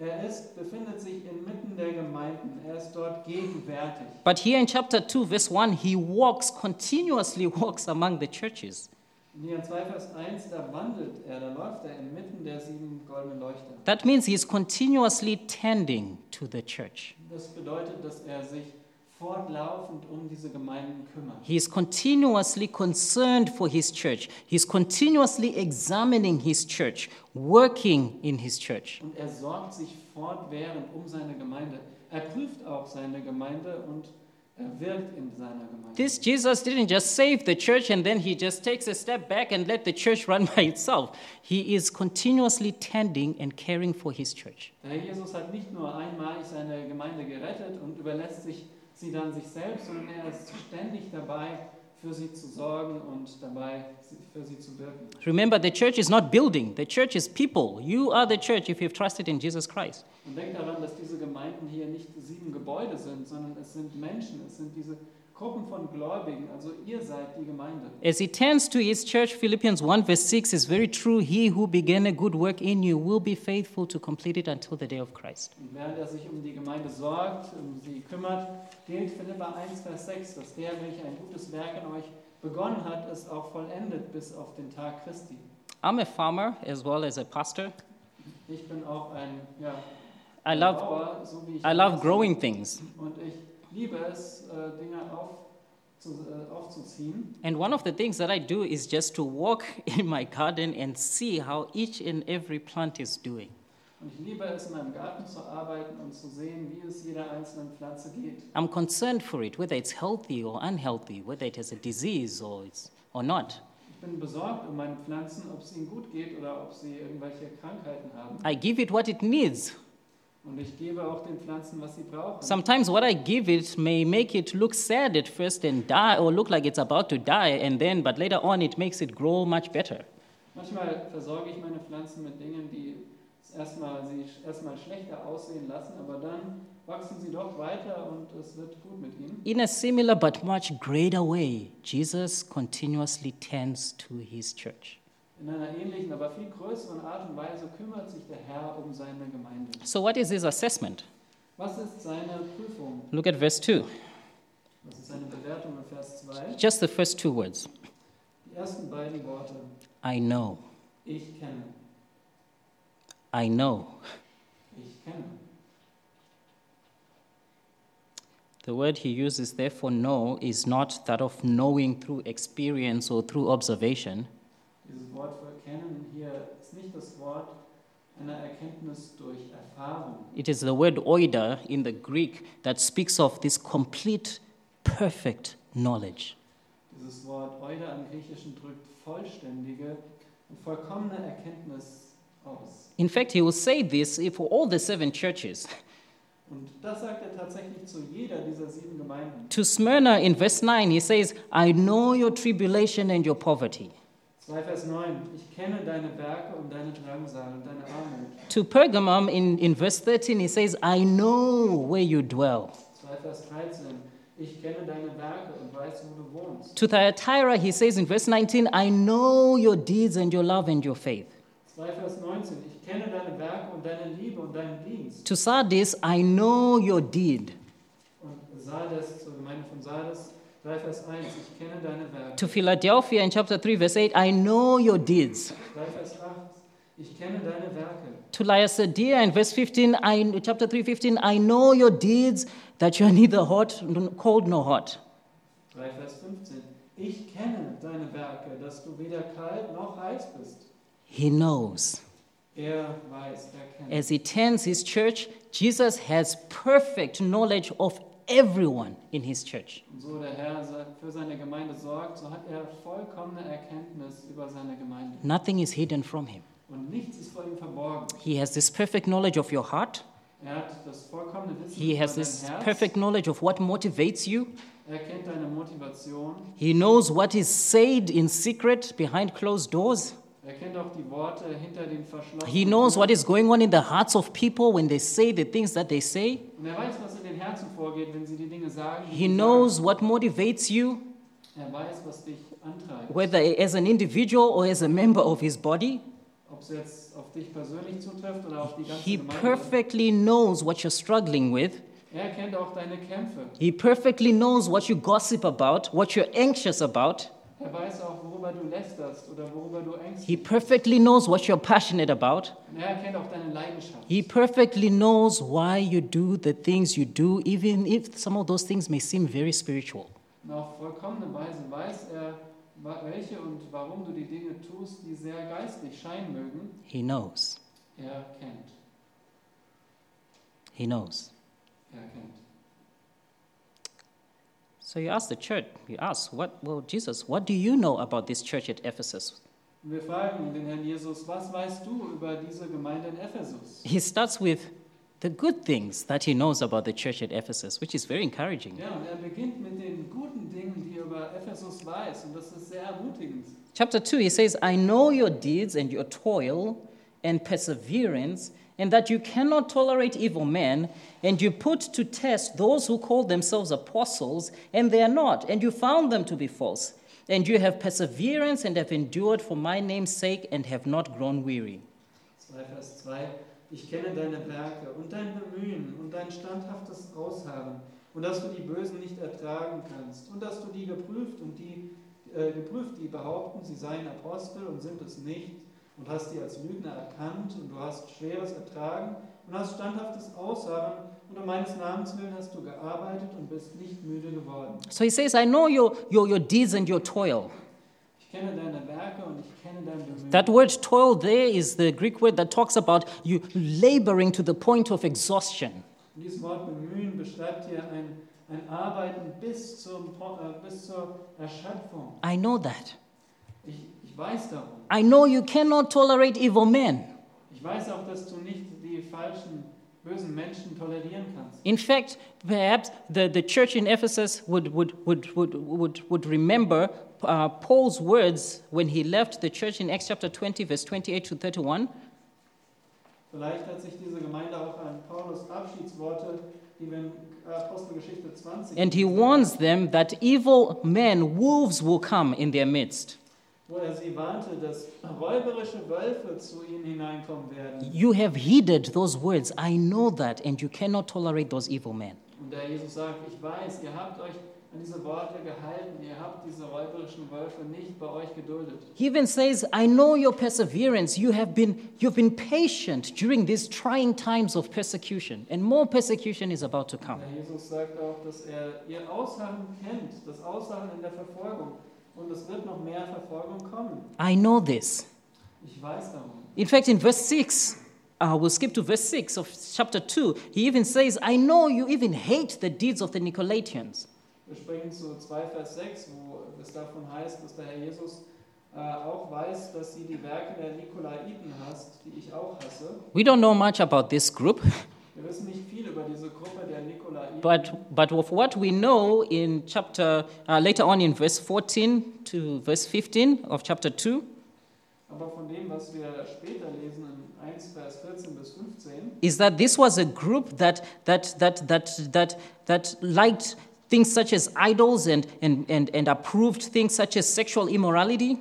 B: er ist, befindet sich inmitten der Gemeinden. Er ist dort gegenwärtig.
A: But here in chapter 2, verse 1, he walks, continuously walks among the churches.
B: In Nehemiah 2, Vers 1, da wandelt er, da läuft er inmitten der sieben goldenen Leuchter.
A: That means he's continuously tending to the church.
B: Das bedeutet, dass er sich fortlaufend um diese Gemeinden kümmert.
A: He is continuously concerned for his church. He's continuously examining his church, working in his church.
B: Und er sorgt sich fortwährend um seine Gemeinde. Er prüft auch seine Gemeinde und er wirkt in seiner Gemeinde.
A: This Jesus didn't just save the church and then he just takes a step back and let the church run by itself. He is continuously tending and caring for his church.
B: Der Herr Jesus hat nicht nur einmalig seine Gemeinde gerettet und überlässt sich sie dann sich selbst, sondern er ist ständig dabei, für sie zu sorgen und dabei für sie zu wirken.
A: Remember, the church is not building, the church is people. You are the church if you've trusted in Jesus Christ.
B: Und denkt daran, dass diese Gemeinden hier nicht sieben Gebäude sind, sondern es sind Menschen, es sind diese Gruppen von Gläubigen, also ihr seid die Gemeinde.
A: As he tends to his church, Philippians 1 verse 6 is very true. He who began a good work in you will be faithful to complete it until the day of Christ.
B: Und während er sich um die Gemeinde sorgt, um sie kümmert, gilt Philippa 1, Vers 6, dass der, welcher ein gutes Werk in euch begonnen hat, es auch vollendet bis auf den Tag Christi.
A: I'm a farmer as well as a pastor.
B: Ich bin auch ein ja,
A: I love,
B: Bauer, so wie ich
A: I love
B: bin.
A: growing things.
B: Und ich liebe es, äh, Dinge aufzu, äh, aufzuziehen.
A: And one of the things that I do is just to walk in my garden and see how each and every plant is doing.
B: Und ich liebe es, in meinem Garten zu arbeiten und zu sehen, wie es jeder einzelnen Pflanze geht.
A: I'm concerned for it, whether it's healthy or unhealthy, whether it has a disease or, it's, or not.
B: Ich bin besorgt um meine Pflanzen, ob es ihnen gut geht oder ob sie irgendwelche Krankheiten haben.
A: I give it what it needs.
B: Und ich gebe auch den Pflanzen, was sie brauchen.
A: Sometimes what I give it may make it look sad at first and die, or look like it's about to die, and then, but later on, it makes it grow much better.
B: Manchmal versorge ich meine Pflanzen mit Dingen, die es erstmal, sie sch- erstmal schlechter aussehen lassen, aber dann wachsen sie doch weiter und es wird gut mit ihnen.
A: In a similar but much greater way, Jesus continuously tends to his church.
B: In einer ähnlichen, aber viel größeren Art und Weise kümmert sich der Herr um seine Gemeinde.
A: So, what is his assessment?
B: Was ist seine Prüfung?
A: Look at verse 2,
B: Was ist seine Bewertung in Vers 2?
A: just the first two words
B: Die ersten beiden Worte.
A: I know,
B: Ich kenne.
A: I know.
B: Ich kenne.
A: The word he uses, therefore, know, is not that of knowing through experience or through observation,
B: Dieses Wort für kennen hier ist nicht das Wort einer Erkenntnis Erkenntnis durch Erfahrung.
A: It is the word oida in the Greek that speaks of this complete, perfect knowledge.
B: Dieses Wort Euda im Griechischen drückt vollständige und vollkommene Erkenntnis aus.
A: In fact, he will say this for all the seven churches.
B: Und das sagt er tatsächlich zu jeder dieser sieben Gemeinden.
A: To Smyrna in verse 9, he says, I know your tribulation and your poverty.
B: 2 Vers 9. Ich kenne deine Werke und deine Drangsal und deine Armut.
A: To Pergamum in, in verse 13, he says, I know where you dwell.
B: 2 Vers 13. Ich kenne deine Werke und weiß, wo du wohnst.
A: To Thyatira, he says in verse 19, I know your deeds and your love and your faith.
B: 2 Vers 19. Ich kenne deine Werke und deine Liebe und deinen Dienst.
A: To Sardis, I know your deed.
B: Und Sardes, zur Gemeinde von Sardes. 3 Vers 1. Ich kenne deine Werke.
A: To Philadelphia in chapter 3, verse 8, I know your deeds.
B: 3 Vers 8. Ich kenne deine Werke.
A: To Laodicea in verse 15, I, chapter 3, 15, I know your deeds, that you are neither hot, nor cold, nor hot.
B: 3 Vers 15. Ich kenne deine Werke, dass du weder kalt noch heiß bist.
A: He knows.
B: Er weiß, er kennt.
A: As he tends his church, Jesus has perfect knowledge of everyone in his church.
B: Und so der Herr se- für seine Gemeinde sorgt, so hat er vollkommene Erkenntnis über seine Gemeinde.
A: Nothing is hidden from him.
B: Und nichts ist vor ihm verborgen.
A: He has this perfect knowledge of your heart.
B: Er hat das vollkommene Wissen
A: He
B: über
A: has
B: dein
A: this
B: Herz.
A: perfect knowledge of what motivates you.
B: Er kennt deine Motivation.
A: He knows what is said in secret behind closed doors.
B: Er kennt auch die Worte hinter den verschlossenen
A: He knows what
B: Türen.
A: is going on in the hearts of people when they say the things that they say.
B: Und er weiß, was in den Herzen vorgeht, wenn sie die Dinge sagen. die
A: He
B: sie
A: knows what motivates you,
B: sagen. Er weiß, was dich antreibt.
A: whether as an individual or as a member of his body.
B: Ob es jetzt auf dich persönlich zutrifft oder auf die ganze
A: He
B: Gemeinde.
A: perfectly knows what you're struggling with.
B: Er kennt auch deine Kämpfe.
A: He perfectly knows what you gossip about, what you're anxious about.
B: Er weiß auch, worüber du lästerst oder worüber du ängstlich
A: He perfectly knows what you're passionate about.
B: Und er erkennt auch deine Leidenschaft.
A: He perfectly knows why you do the things you do, even if some of those things may seem very spiritual.
B: Und auf vollkommene Weise weiß er, wa- welche und warum du die Dinge tust, die sehr geistlich scheinen mögen.
A: He knows.
B: Er kennt.
A: He knows.
B: Er kennt.
A: So you ask the church, you ask, what, well, Jesus, what do you know about this church at Ephesus?
B: Und wir fragen den Herrn Jesus, was weißt du über diese Gemeinde in Ephesus?
A: He starts with the good things that he knows about the church at Ephesus, which is very encouraging.
B: Ja, und er beginnt mit den guten Dingen, die er über Ephesus weiß. Und das ist sehr ermutigend.
A: Chapter 2, he says, I know your deeds and your toil and perseverance, and that you cannot tolerate evil men, and you put to test those who call themselves apostles, and they are not, and you found them to be false. And you have perseverance and have endured for my name's sake and have not grown weary.
B: 2 Vers 2. Ich kenne deine Werke und dein Bemühen und dein standhaftes Ausharren und dass du die Bösen nicht ertragen kannst und dass du die geprüft und die äh, geprüft, die behaupten, sie seien Apostel und sind es nicht und hast die als Lügner erkannt und du hast schweres Ertragen und hast standhaftes Ausharren und um meines Namens willen hast du gearbeitet und bist nicht müde geworden.
A: So he says, I know your, your, your deeds and your toil.
B: Ich kenne deine Werke und ich kenne dein Bemühen.
A: That word toil there is the Greek word that talks about you laboring to the point of exhaustion.
B: Und Dieses Wort bemühen beschreibt hier ein, ein Arbeiten bis, zum, Po- äh, bis zur Erschöpfung.
A: I know that.
B: Ich, ich weiß darum.
A: I know you cannot tolerate evil men.
B: Ich weiß auch, dass du nicht die falschen, bösen Menschen tolerieren kannst.
A: In fact, perhaps the, the church in Ephesus would, would, would, would, would, would remember uh, Paul's words when he left the church in Acts chapter 20, verse 28 to 31.
B: Vielleicht hat sich diese Gemeinde auch an Paulus Abschiedsworte, die wir in Apostelgeschichte 20
A: And he
B: lesen,
A: warns them that evil men, wolves, will come in their midst.
B: wo er sie warnte, dass räuberische Wölfe zu ihnen hineinkommen werden.
A: You have heeded those words. I know that, and you cannot tolerate those evil men.
B: Und der Jesus sagt, ich weiß, ihr habt euch an diese Worte gehalten, ihr habt diese räuberischen Wölfe nicht bei euch geduldet.
A: He even says, I know your perseverance. You have been, you've been patient during these trying times of persecution, and more persecution is about to come.
B: Der Jesus sagt auch, dass er ihr Ausharren kennt, das Ausharren in der Verfolgung. Und es wird noch mehr Verfolgung kommen.
A: I know this.
B: Ich weiß darum.
A: In fact, in verse 6, Uh, we'll skip to verse 6 of chapter 2. He even says, I know you even hate the deeds of the Nicolaitans.
B: Wir springen zu 2 Vers 6, wo es davon heißt, dass der Herr Jesus äh, auch weiß, dass sie die Werke der Nikolaiten hasst, die ich auch hasse.
A: We don't know much about this group,
B: Wir wissen nicht viel über diese Gruppe der Nikolaiten,
A: but, but of what we know in chapter, uh, later on in verse 14 to verse 15 of chapter 2,
B: aber von dem, was wir später lesen in 1 Vers 14 bis 15,
A: is that this was a group that, that, that, that, that, that liked things such as idols and, and, and, and approved things such as sexual immorality.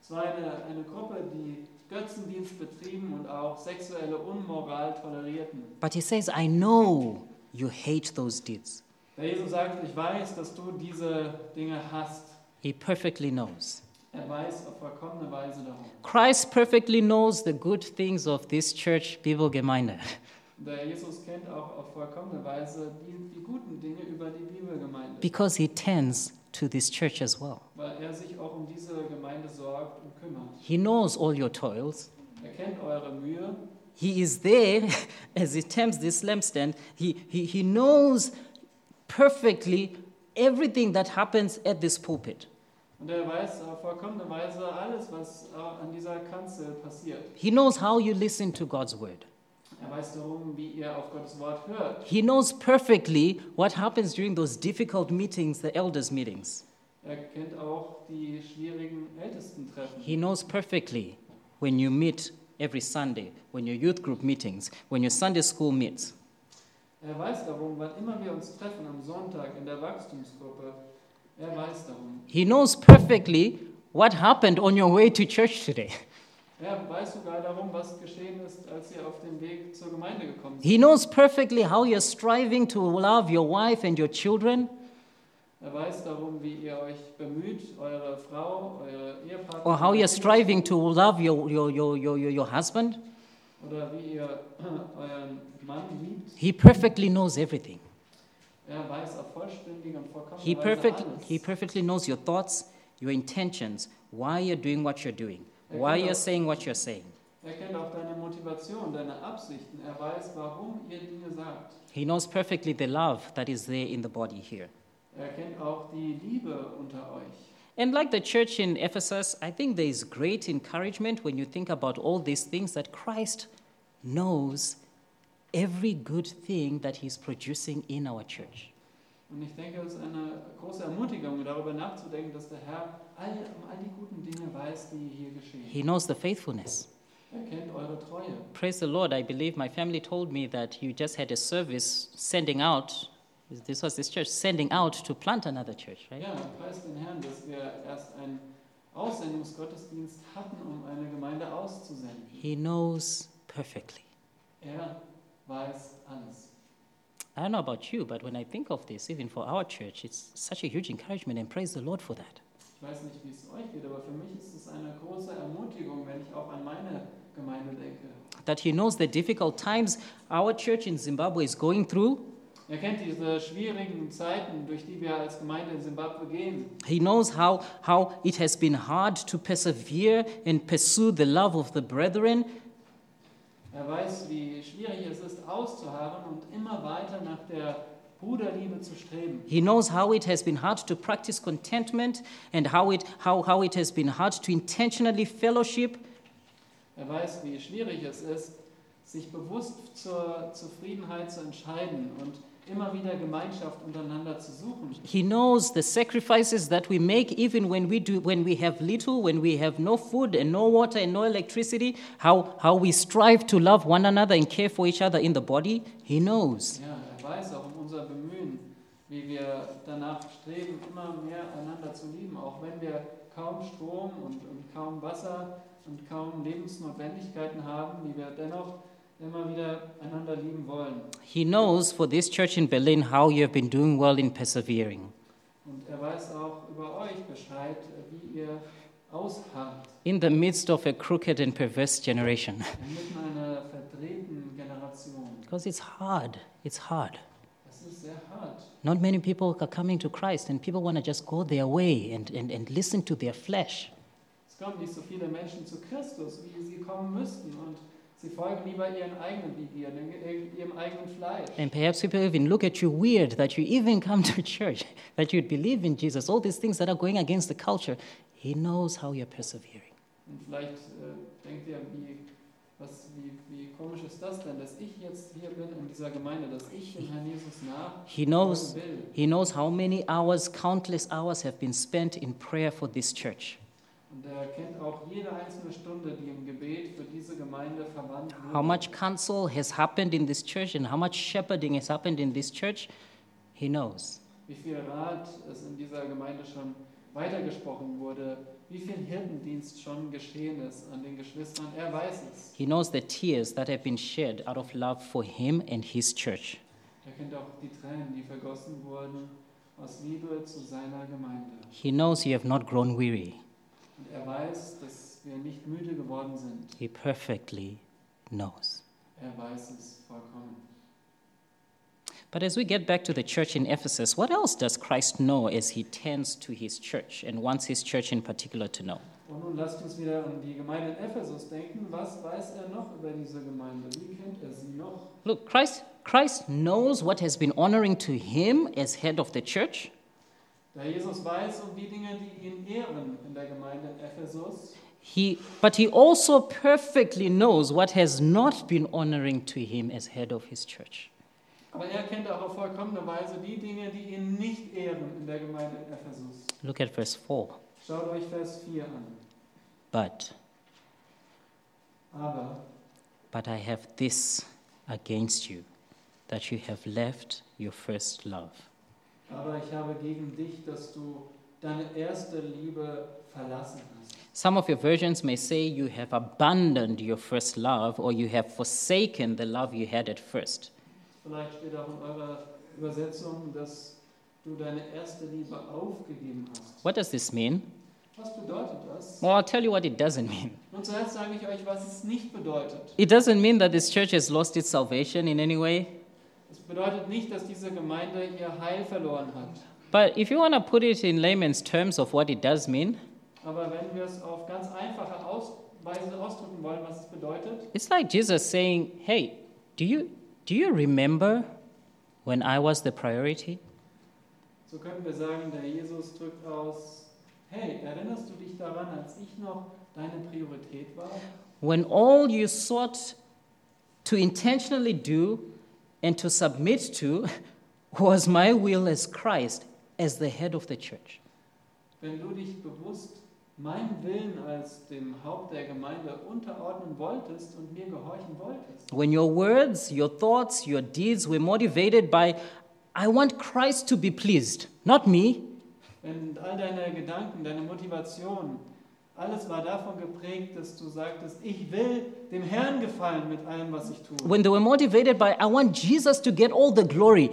B: es war eine, eine Gruppe, die Götzendienst betrieben und auch sexuelle Unmoral tolerierten.
A: But he says, I know you hate those deeds.
B: Der Jesus sagt, ich weiß, dass du diese Dinge hasst.
A: He perfectly knows.
B: Er weiß auf vollkommene Weise darum.
A: Christ perfectly knows the good things of this church, Bibelgemeinde.
B: Der Jesus kennt auch auf vollkommene Weise die, die guten Dinge über die Bibelgemeinde,
A: because he tends to this church as well.
B: weil er sich auch um diese Gemeinde sorgt und kümmert.
A: He knows all your toils.
B: Er kennt eure Mühe,
A: He is there as he tempts this lampstand. He, he, he knows perfectly everything that happens at this pulpit.
B: Und er weiß auf vollkommene Weise alles, was auch an dieser Kanzel passiert.
A: He knows how you listen to God's word.
B: Er weiß darum, wie ihr auf Gottes Wort hört.
A: He knows perfectly what happens during those difficult meetings, the elders' meetings.
B: Er kennt auch die schwierigen Ältestentreffen.
A: He knows perfectly when you meet every Sunday, when your youth group meetings, when your Sunday school meets.
B: Er weiß darum, wann immer wir uns treffen, am Sonntag in der Wachstumsgruppe. Er weiß darum.
A: He knows perfectly what happened on your way to church today.
B: Er weiß sogar darum, was geschehen ist, als ihr auf dem Weg zur Gemeinde gekommen seid.
A: He knows perfectly how you're striving to love your wife and your children,
B: Er weiß darum, wie ihr euch bemüht, eure Frau, eure Ehepartner
A: or how you're striving to love your, your, your, your, your, your husband.
B: oder wie ihr euren Mann liebt.
A: He perfectly knows everything.
B: Er weiß auf vollständig und vollkommen
A: He, perfect,
B: alles.
A: he perfectly knows your thoughts, your intentions, why you're doing what you're doing, why you're saying what you're saying.
B: Er kennt auch deine Motivation, deine Absichten. Er weiß, warum ihr Dinge sagt.
A: He knows perfectly the love that is there in the body here.
B: Er kennt auch die Liebe unter euch.
A: And like the church in Ephesus, I think there is great encouragement when you think about all these things that Christ knows every good thing that he's producing in our church.
B: Und ich denke, es ist eine große Ermutigung, darüber nachzudenken, dass der Herr all, um all die guten Dinge weiß, die hier geschehen.
A: He knows the faithfulness.
B: Er kennt eure Treue.
A: Praise the Lord. I believe my family told me that you just had a service sending out, this was this church, sending out to plant another church, right?
B: Ja, preis den Herrn, dass wir erst einen Aussendungsgottesdienst hatten, um eine Gemeinde auszusenden.
A: He knows perfectly.
B: Er weiß alles.
A: I don't know about you, but when I think of this, even for our church, it's such a huge encouragement, and praise the Lord for that.
B: Ich weiß nicht, wie es euch geht, aber für mich ist es eine große Ermutigung, wenn ich auch an meine Gemeinde denke.
A: that he knows the difficult times our church in Zimbabwe is going through.
B: Er kennt diese schwierigen Zeiten, durch die wir als Gemeinde in Simbabwe gehen.
A: He knows how, how it has been hard to persevere and pursue the love of the brethren.
B: Er weiß, wie schwierig es ist, auszuharren und immer weiter nach der Bruderliebe zu streben.
A: He knows how it has been hard to practice contentment and how it, how, how it has been hard to intentionally fellowship.
B: Er weiß, wie schwierig es ist, sich bewusst zur Zufriedenheit zu entscheiden und immer wieder Gemeinschaft untereinander zu suchen.
A: He knows the sacrifices that we make even when we, do, when we have little, when we have no food and no water and no electricity, how, how we strive to love one another and care for each other in the body. He knows.
B: Ja, er weiß auch um unser Bemühen, wie wir danach streben, immer mehr einander zu lieben, auch wenn wir kaum Strom und, und kaum Wasser und kaum Lebensnotwendigkeiten haben, die wir dennoch immer wieder einander lieben wollen.
A: He knows for this church in Berlin how you have been doing well in persevering.
B: Und er weiß auch über euch Bescheid, wie ihr ausharrt,
A: In the midst of a crooked and perverse generation.
B: inmitten einer verdrehten Generation.
A: Because it's hard. It's hard.
B: Das ist sehr hart.
A: Not many people are coming to Christ, and people want to just go their way and, and, and listen to their flesh.
B: Es kommen nicht so viele Menschen zu Christus, wie sie kommen müssten und Sie folgen lieber ihren eigenen Begierden, ihrem eigenen Fleisch.
A: And perhaps people even look at you weird that you even come to church, that you believe in Jesus. All these things that are going against the culture, He knows how you're persevering.
B: Und vielleicht äh, denkt ihr, wie, was, wie, wie komisch ist das denn, dass ich jetzt hier bin in dieser Gemeinde, dass ich dem Herrn Jesus nach
A: He knows,
B: will.
A: he knows how many hours, countless hours, have been spent in prayer for this church,
B: Und er kennt auch jede einzelne Stunde, die im Gebet für diese Gemeinde verwandt
A: how
B: wurde.
A: much counsel has happened in this church, and how much shepherding has happened in this church. He knows.
B: Wie viel Rat es in dieser Gemeinde schon weitergesprochen wurde. Wie viel Hirtendienst schon geschehen ist an den Geschwistern. Er weiß es.
A: He knows the tears that have been shed out of love for Him and His church.
B: Er kennt auch die Tränen, die vergossen wurden aus Liebe zu seiner Gemeinde.
A: He knows you have not grown weary.
B: Und er weiß, dass wir nicht müde geworden sind.
A: He perfectly knows.
B: Er weiß es vollkommen.
A: But as we get back to the church in Ephesus, what else does Christ know as he tends to his church and wants his church in particular to know?
B: Und nun lasst uns wieder an die Gemeinde in Ephesus denken. Was weiß er noch über diese Gemeinde? Wie kennt er sie noch?
A: Look, Christ, Christ knows what has been honoring to him as head of the church,
B: Da Jesus weiß um die Dinge, die ihn ehren in der Gemeinde in Ephesus,
A: he, but he also perfectly knows what has not been honoring to him as head of his church.
B: aber er kennt auch auf vollkommene Weise die Dinge, die ihn nicht ehren in der Gemeinde in Ephesus.
A: Look at verse 4.
B: Schaut euch Vers 4 an.
A: But,
B: Aber
A: but I have this against you, that you have left your first love.
B: Aber ich habe gegen dich, dass du deine erste Liebe verlassen hast.
A: Some of your versions may say you have abandoned your first love or you have forsaken the love you had at first.
B: Vielleicht steht auch in eurer Übersetzung, dass du deine erste Liebe aufgegeben hast.
A: What does this mean?
B: Was bedeutet das?
A: Well, I'll tell you what it doesn't mean.
B: Nun zuerst sage ich euch, was es nicht bedeutet.
A: It doesn't mean that this church has lost its salvation in any way.
B: Es bedeutet nicht, dass diese Gemeinde ihr Heil verloren hat.
A: But if you want to put it in layman's terms of what it does mean,
B: Aber wenn wir es auf ganz einfache Aus Weise ausdrücken wollen, was es bedeutet,
A: it's like Jesus saying, Hey, do you, do you remember when I was the priority?
B: so könnten wir sagen, der Jesus drückt aus, hey, erinnerst du dich daran, als ich noch deine Priorität war?
A: When all you sought to intentionally do and to submit to was my will as Christ, as the head of the church.
B: Wenn du dich bewusst meinem Willen als dem Haupt der Gemeinde unterordnen wolltest und mir gehorchen wolltest,
A: When your words, your thoughts, your deeds were motivated by, I want Christ to be pleased, not me.
B: wenn all deine Gedanken, deine Motivation, alles war davon geprägt, dass du sagtest, ich will dem Herrn gefallen mit allem, was ich tue.
A: When they were motivated by, I want Jesus to get all the glory,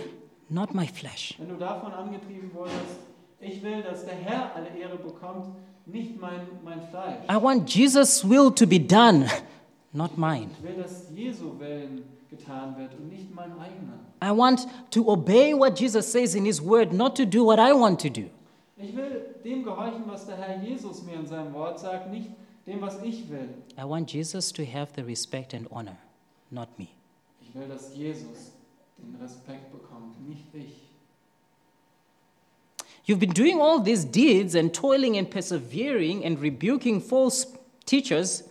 A: not my flesh.
B: Wenn du davon angetrieben wurdest, ich will, dass der Herr alle Ehre bekommt, nicht mein, mein Fleisch.
A: I want Jesus' will to be done, not mine.
B: Ich will, dass Jesu Willen getan wird und nicht mein eigener.
A: I want to obey what Jesus says in His Word, not to do what I want to do.
B: Ich will dem gehorchen, was der Herr Jesus mir in seinem Wort sagt, nicht dem, was ich will.
A: I want Jesus to have the respect and honor, not me.
B: Ich will, dass Jesus den Respekt bekommt, nicht ich.
A: You've been doing all these deeds and toiling and persevering and rebuking false teachers,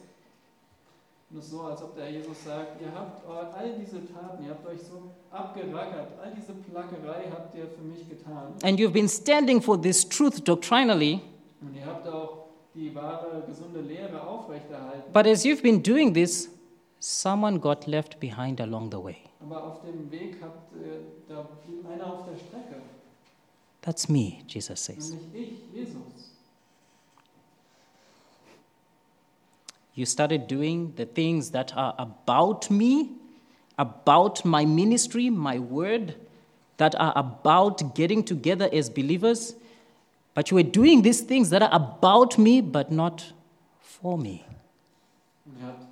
B: Und es ist so, als ob der Herr Jesus sagt, ihr habt eu- all diese Taten, ihr habt euch so abgerackert, all diese Plackerei habt ihr für mich getan.
A: and you've been standing for this truth doctrinally.
B: Und ihr habt auch die wahre, gesunde Lehre aufrechterhalten.
A: But as you've been doing this, someone got left behind along the way.
B: Aber auf dem Weg habt äh, da blieb einer auf der Strecke,
A: That's me, Jesus says.
B: nämlich ich, Jesus.
A: You started doing the things that are about me, about my ministry, my word, that are about getting together as believers. But you were doing these things that are about me, but not for me.
B: Und ihr habt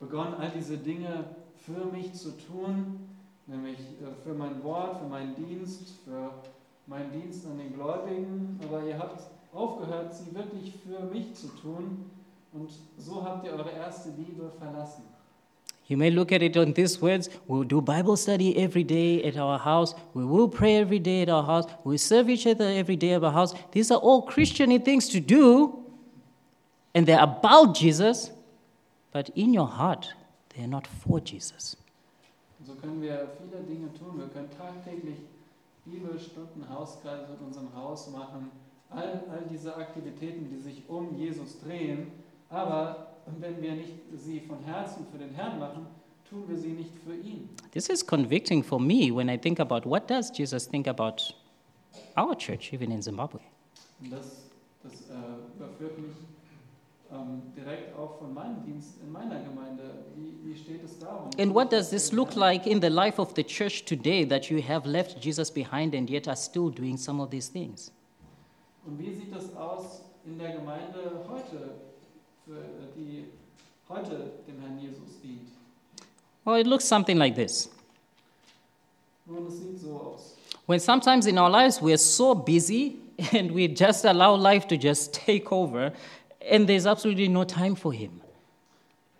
B: begonnen, all diese Dinge für mich zu tun, nämlich äh, für mein Wort, für meinen Dienst, für meinen Dienst an den Gläubigen. Aber ihr habt aufgehört, sie wirklich für mich zu tun. Und so habt ihr eure erste Liebe verlassen.
A: You may look at it on these words we'll do Bible study every day at our house, we will pray every day at our house, we serve each other every day at our house. These are all Christian things to do, and they're about Jesus, but in your heart, they're not for Jesus.
B: Und so können wir viele Dinge tun. Wir können tagtäglich Bibelstunden, Hauskreise in unserem Haus machen. All, all diese Aktivitäten, die sich um Jesus drehen. Aber wenn wir nicht sie von Herzen für den Herrn machen, tun wir sie nicht für ihn.
A: This is convicting for me when I think about what does Jesus think about our church, even in Zimbabwe.
B: Und das, das äh, überführt mich ähm, direkt auch von meinem Dienst in meiner Gemeinde. Wie, wie steht es darum?
A: And what does this look like in the life of the church today that you have left Jesus behind and yet are still doing some of these things?
B: Und wie sieht das aus in der Gemeinde heute, für, äh, die heute dem Herrn Jesus dient?
A: Well, it looks something like this.
B: Nun, es sieht so aus.
A: When sometimes in our lives we're so busy and we just allow life to just take over and there's absolutely no time for Him.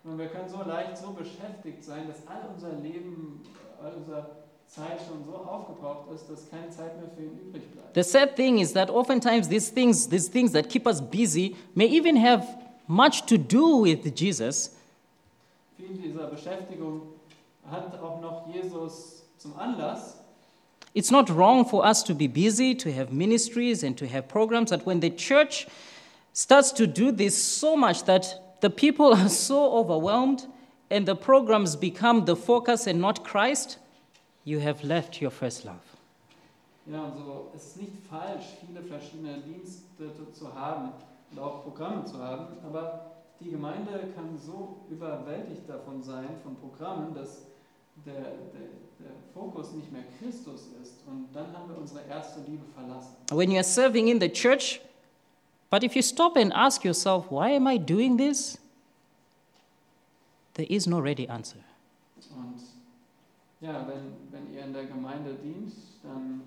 B: Und wir können so leicht so beschäftigt sein, dass all unser Leben, all unsere Zeit schon so aufgebraucht ist, dass keine Zeit mehr für ihn übrig bleibt.
A: The sad thing is that oftentimes these things, these things that keep us busy, may even have much to do with Jesus,
B: Viel dieser Beschäftigung hat auch noch Jesus zum Anlass.
A: It's not wrong for us to be busy, to have ministries and to have programs, but when the church starts to do this so much that the people are so overwhelmed and the programs become the focus and not Christ, you have left your first love.
B: Ja, und so, es ist nicht falsch, viele verschiedene Dienste zu- zu haben und auch Programme zu haben, aber die Gemeinde kann so überwältigt davon sein, von Programmen, dass der, der, der Fokus nicht mehr Christus ist. Und dann haben wir unsere erste Liebe verlassen.
A: When you are serving in the church, but if you stop and ask yourself, why am I doing this? There is no ready answer.
B: Und ja, wenn, wenn ihr in der Gemeinde dient, dann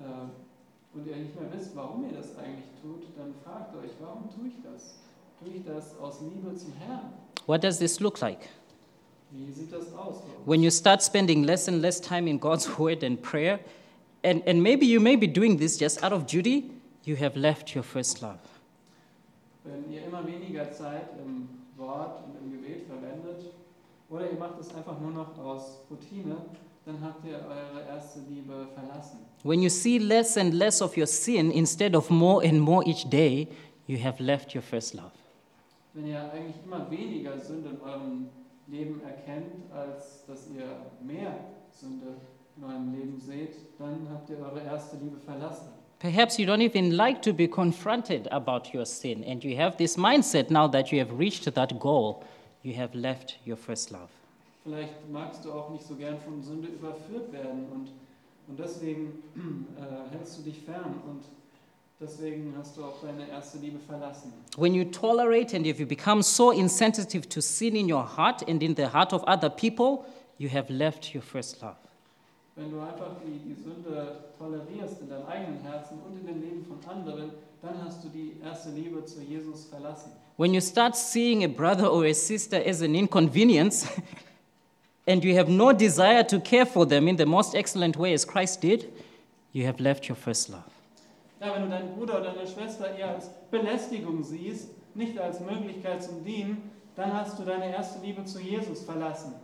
B: äh, und ihr nicht mehr wisst, warum ihr das eigentlich tut, dann fragt euch, warum tue ich das? Tue ich das aus Liebe zum Herrn?
A: What does this look like?
B: Wie sieht das aus?
A: when you start spending less and less time in God's word and prayer, and, and maybe you may be doing this just out of duty, you have left your first love.
B: Wenn ihr immer weniger Zeit im Wort und im Gebet verwendet, oder ihr macht es einfach nur noch aus Routine, dann habt ihr eure erste Liebe verlassen.
A: When you see less and less of your sin instead of more and more each day, you have left your first love.
B: Wenn ihr eigentlich immer weniger Sünde in eurem Leben erkennt, als dass ihr mehr Sünde in eurem Leben seht, dann habt ihr eure erste Liebe verlassen.
A: Perhaps you don't even like to be confronted about your sin, and you have this mindset now that you have reached that goal, you have left your first love.
B: Vielleicht magst du auch nicht so gern von Sünde überführt werden und, und deswegen äh, hältst du dich fern und deswegen hast du auch deine erste Liebe verlassen.
A: When you tolerate and if you become so insensitive to sin in your heart and in the heart of other people, you have left your first love.
B: Wenn du einfach die, die Sünde tolerierst in deinem eigenen Herzen und in dem Leben von anderen, dann hast du die erste Liebe zu Jesus verlassen.
A: When you start seeing a brother or a sister as an inconvenience and you have no desire to care for them in the most excellent way as Christ did, you have left your first love.
B: Ja, wenn du deinen Bruder oder deine Schwester eher als Belästigung siehst, nicht als Möglichkeit zum Dienen, dann hast du deine erste Liebe zu Jesus verlassen.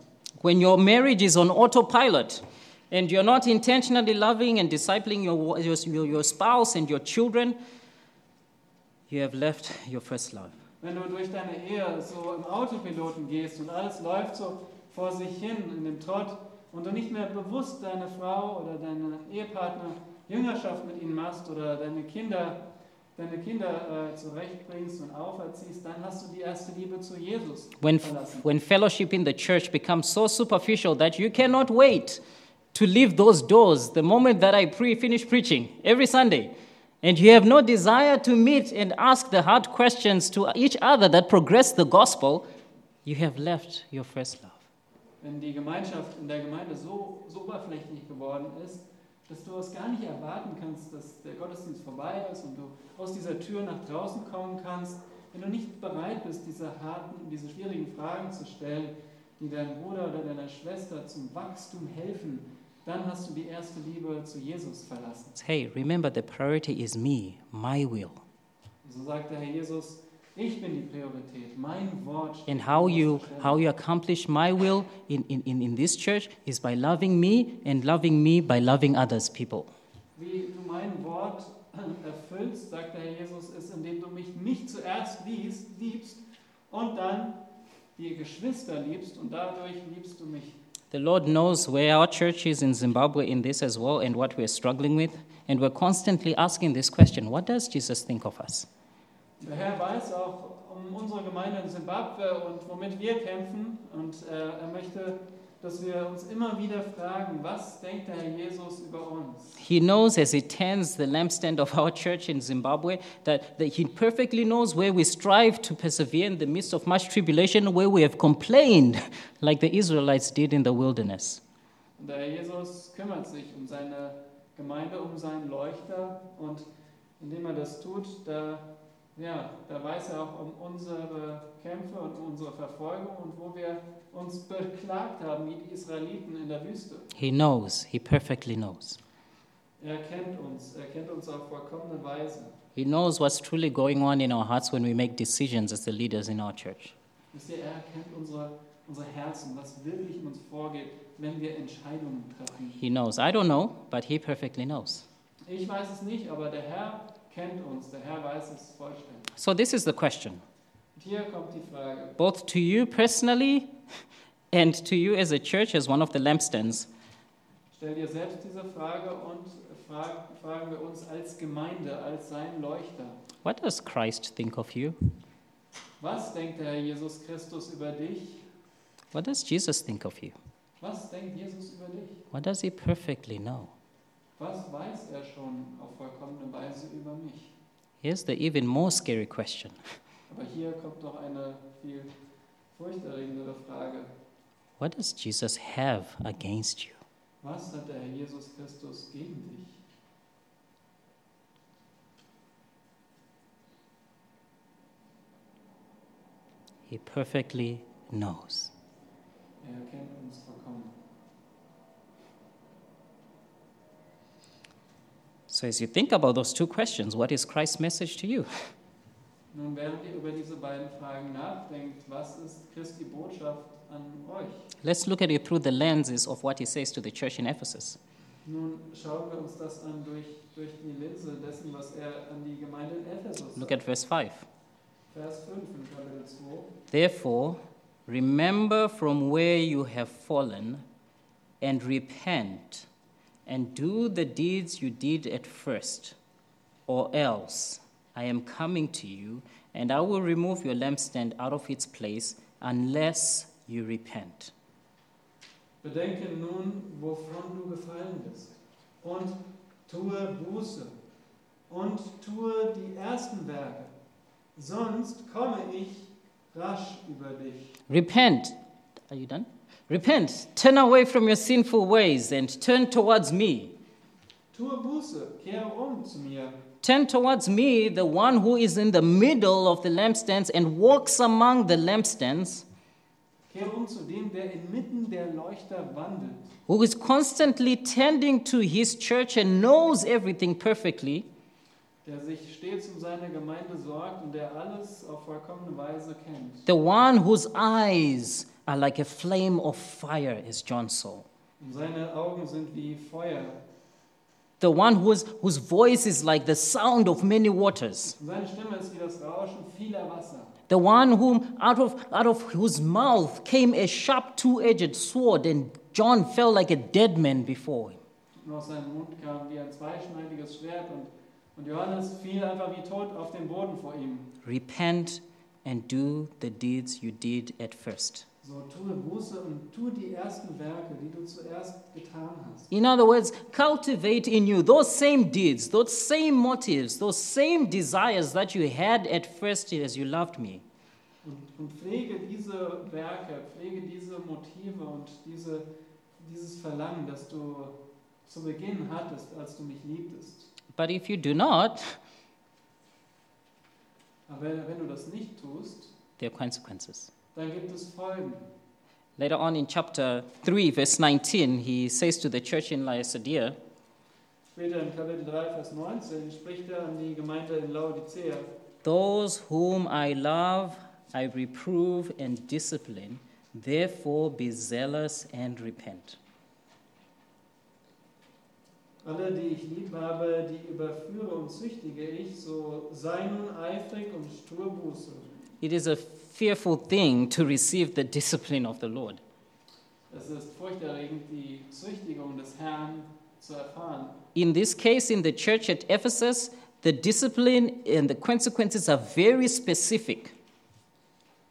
A: When your marriage is on autopilot and you're not intentionally loving and discipling your, your, your- your spouse and your children, you have left your first love.
B: Wenn du durch deine Ehe so im Autopiloten gehst und alles läuft so vor sich hin in dem Trott und du nicht mehr bewusst deine Frau oder deine Ehepartner Jüngerschaft mit ihnen machst oder deine Kinder, deine Kinder äh, zurechtbringst und auferziehst, dann hast du die erste Liebe zu Jesus
A: When,
B: verlassen.
A: when fellowship in the church becomes so superficial that you cannot wait to leave those doors the moment that I pre- finish preaching every Sunday, and you have no desire to meet and ask the hard questions to each other that progress the gospel, you have left your first love.
B: wenn die Gemeinschaft in der Gemeinde so, so oberflächlich geworden ist, dass du es gar nicht erwarten kannst, dass der Gottesdienst vorbei ist und du aus dieser Tür nach draußen kommen kannst, wenn du nicht bereit bist, diese harten, diese schwierigen Fragen zu stellen, die deinem Bruder oder deiner Schwester zum Wachstum helfen, dann hast du die erste Liebe zu Jesus verlassen.
A: Hey, remember the priority is me, my will.
B: So sagt der Herr Jesus, ich bin die Priorität, mein Wort. steht
A: And
B: an
A: how
B: erster
A: you
B: Stelle.
A: how you accomplish my will in, in, in, in this church is by loving me and loving me by loving others people.
B: Wie du mein Wort erfüllst, sagt der Herr Jesus, ist, indem du mich nicht zuerst liest, liebst und dann die Geschwister liebst und dadurch liebst du mich.
A: The Lord knows where our church is in Zimbabwe in this as well and what we're struggling with. And we're constantly asking this question what does Jesus think of us?
B: Der Herr weiß auch um unsere Gemeinde in Simbabwe und womit wir kämpfen und äh, er möchte, dass wir uns immer wieder fragen, was denkt der Herr Jesus über uns?
A: He knows as he tends the lampstand of our church in Zimbabwe that, that he perfectly knows where we strive to persevere in the midst of much tribulation, where we have complained like the Israelites did in the wilderness.
B: Und der Herr Jesus kümmert sich um seine Gemeinde, um seinen Leuchter und indem er das tut, da, ja, da weiß er auch um unsere Kämpfe und um unsere Verfolgung und wo wir uns beklagt haben, wie die Israeliten in der Wüste.
A: He knows, he perfectly knows.
B: Er kennt uns, er kennt uns auf vollkommene Weise.
A: He knows what's truly going on in our hearts when we make decisions as the leaders in our church.
B: Wisst ihr, er kennt unsere, unsere Herzen, was wirklich in uns vorgeht, wenn wir Entscheidungen treffen.
A: He knows. I don't know, but he perfectly knows.
B: Ich weiß es nicht, aber der Herr kennt uns, der Herr weiß es vollständig.
A: So, this is the question
B: Und hier kommt die Frage.
A: both to you personally and to you as a church, as one of the lampstands.
B: Stell dir selbst diese Frage und frag, fragen wir uns als Gemeinde, als sein Leuchter.
A: What does Christ think of you?
B: Was denkt der Herr Jesus Christus über dich?
A: What does Jesus think of you?
B: Was denkt Jesus über dich?
A: What does he perfectly know?
B: Was weiß er schon auf vollkommene Weise über mich?
A: Here's the even more scary question
B: Aber hier kommt noch eine viel furchterregendere Frage.
A: What does Jesus have against you?
B: Was hat der Herr Jesus Christus gegen dich?
A: He perfectly knows.
B: Er kennt uns vollkommen.
A: So, as you think about those two questions, what is Christ's message to you?
B: Nun, während ihr über diese beiden Fragen nachdenkt, was ist Christi Botschaft an euch?
A: Let's look at it through the lenses of what he says to the church in Ephesus.
B: Nun schauen wir uns das an durch, durch die Linse dessen, was er an die Gemeinde in Ephesus
A: Look
B: sagt.
A: at verse 5.
B: Vers 5 in Kapitel 2.
A: Therefore, remember from where you have fallen and repent and do the deeds you did at first, or else I am coming to you and I will remove your lampstand out of its place unless you repent.
B: Bedenke nun, wovon du gefallen bist, und tue Buße, und tue die ersten Werke, sonst komme ich rasch über dich.
A: Repent. Are you done? Repent. Turn away from your sinful ways and turn towards me.
B: Tue Buße, kehre um zu mir,
A: Turn towards me, the one who is in the middle of the lampstands, and walks among the lampstands,
B: kehre um zu dem, der inmitten der Leuchter wandelt.
A: who is constantly tending to his church and knows everything perfectly.
B: der sich stets um seine Gemeinde sorgt und der alles auf vollkommene Weise kennt.
A: The one whose eyes are like a flame of fire, as John saw.
B: Und seine Augen sind wie Feuer.
A: The one whose, whose voice is like the sound of many waters.
B: Und seine Stimme ist wie das Rauschen vieler Wasser.
A: The one whom out of, out of whose mouth came a sharp two-edged sword, and John fell like a dead man before him.
B: Und aus seinem Mund kam wie ein zweischneidiges Schwert und, und Johannes fiel einfach wie tot auf den Boden vor ihm.
A: Repent and do the deeds you did at first.
B: So tue Buße und tu die ersten Werke, die du zuerst getan hast.
A: In other words, cultivate in you those same deeds, those same motives, those same desires that you had at first as you loved me.
B: Und, und pflege diese Werke, pflege diese Motive und diese, dieses Verlangen, das du zu Beginn hattest, als du mich liebtest.
A: But if you do not,
B: Aber wenn du das nicht tust,
A: there are consequences.
B: dann gibt es Folgen.
A: Later on in chapter 3, verse 19, he says to the church in Laodicea,
B: Später in Kapitel 3, Vers 19 spricht er an die Gemeinde in Laodicea.
A: Those whom I love, I reprove and discipline. Therefore, be zealous and repent.
B: Alle, die ich lieb habe, die überführe und züchtige ich, so sei nun eifrig und stur Buße.
A: It is a fearful thing to receive the discipline of the Lord.
B: Es ist furchterregend, die Züchtigung des Herrn zu erfahren.
A: In this case, in the church at Ephesus, the discipline and the consequences are very specific.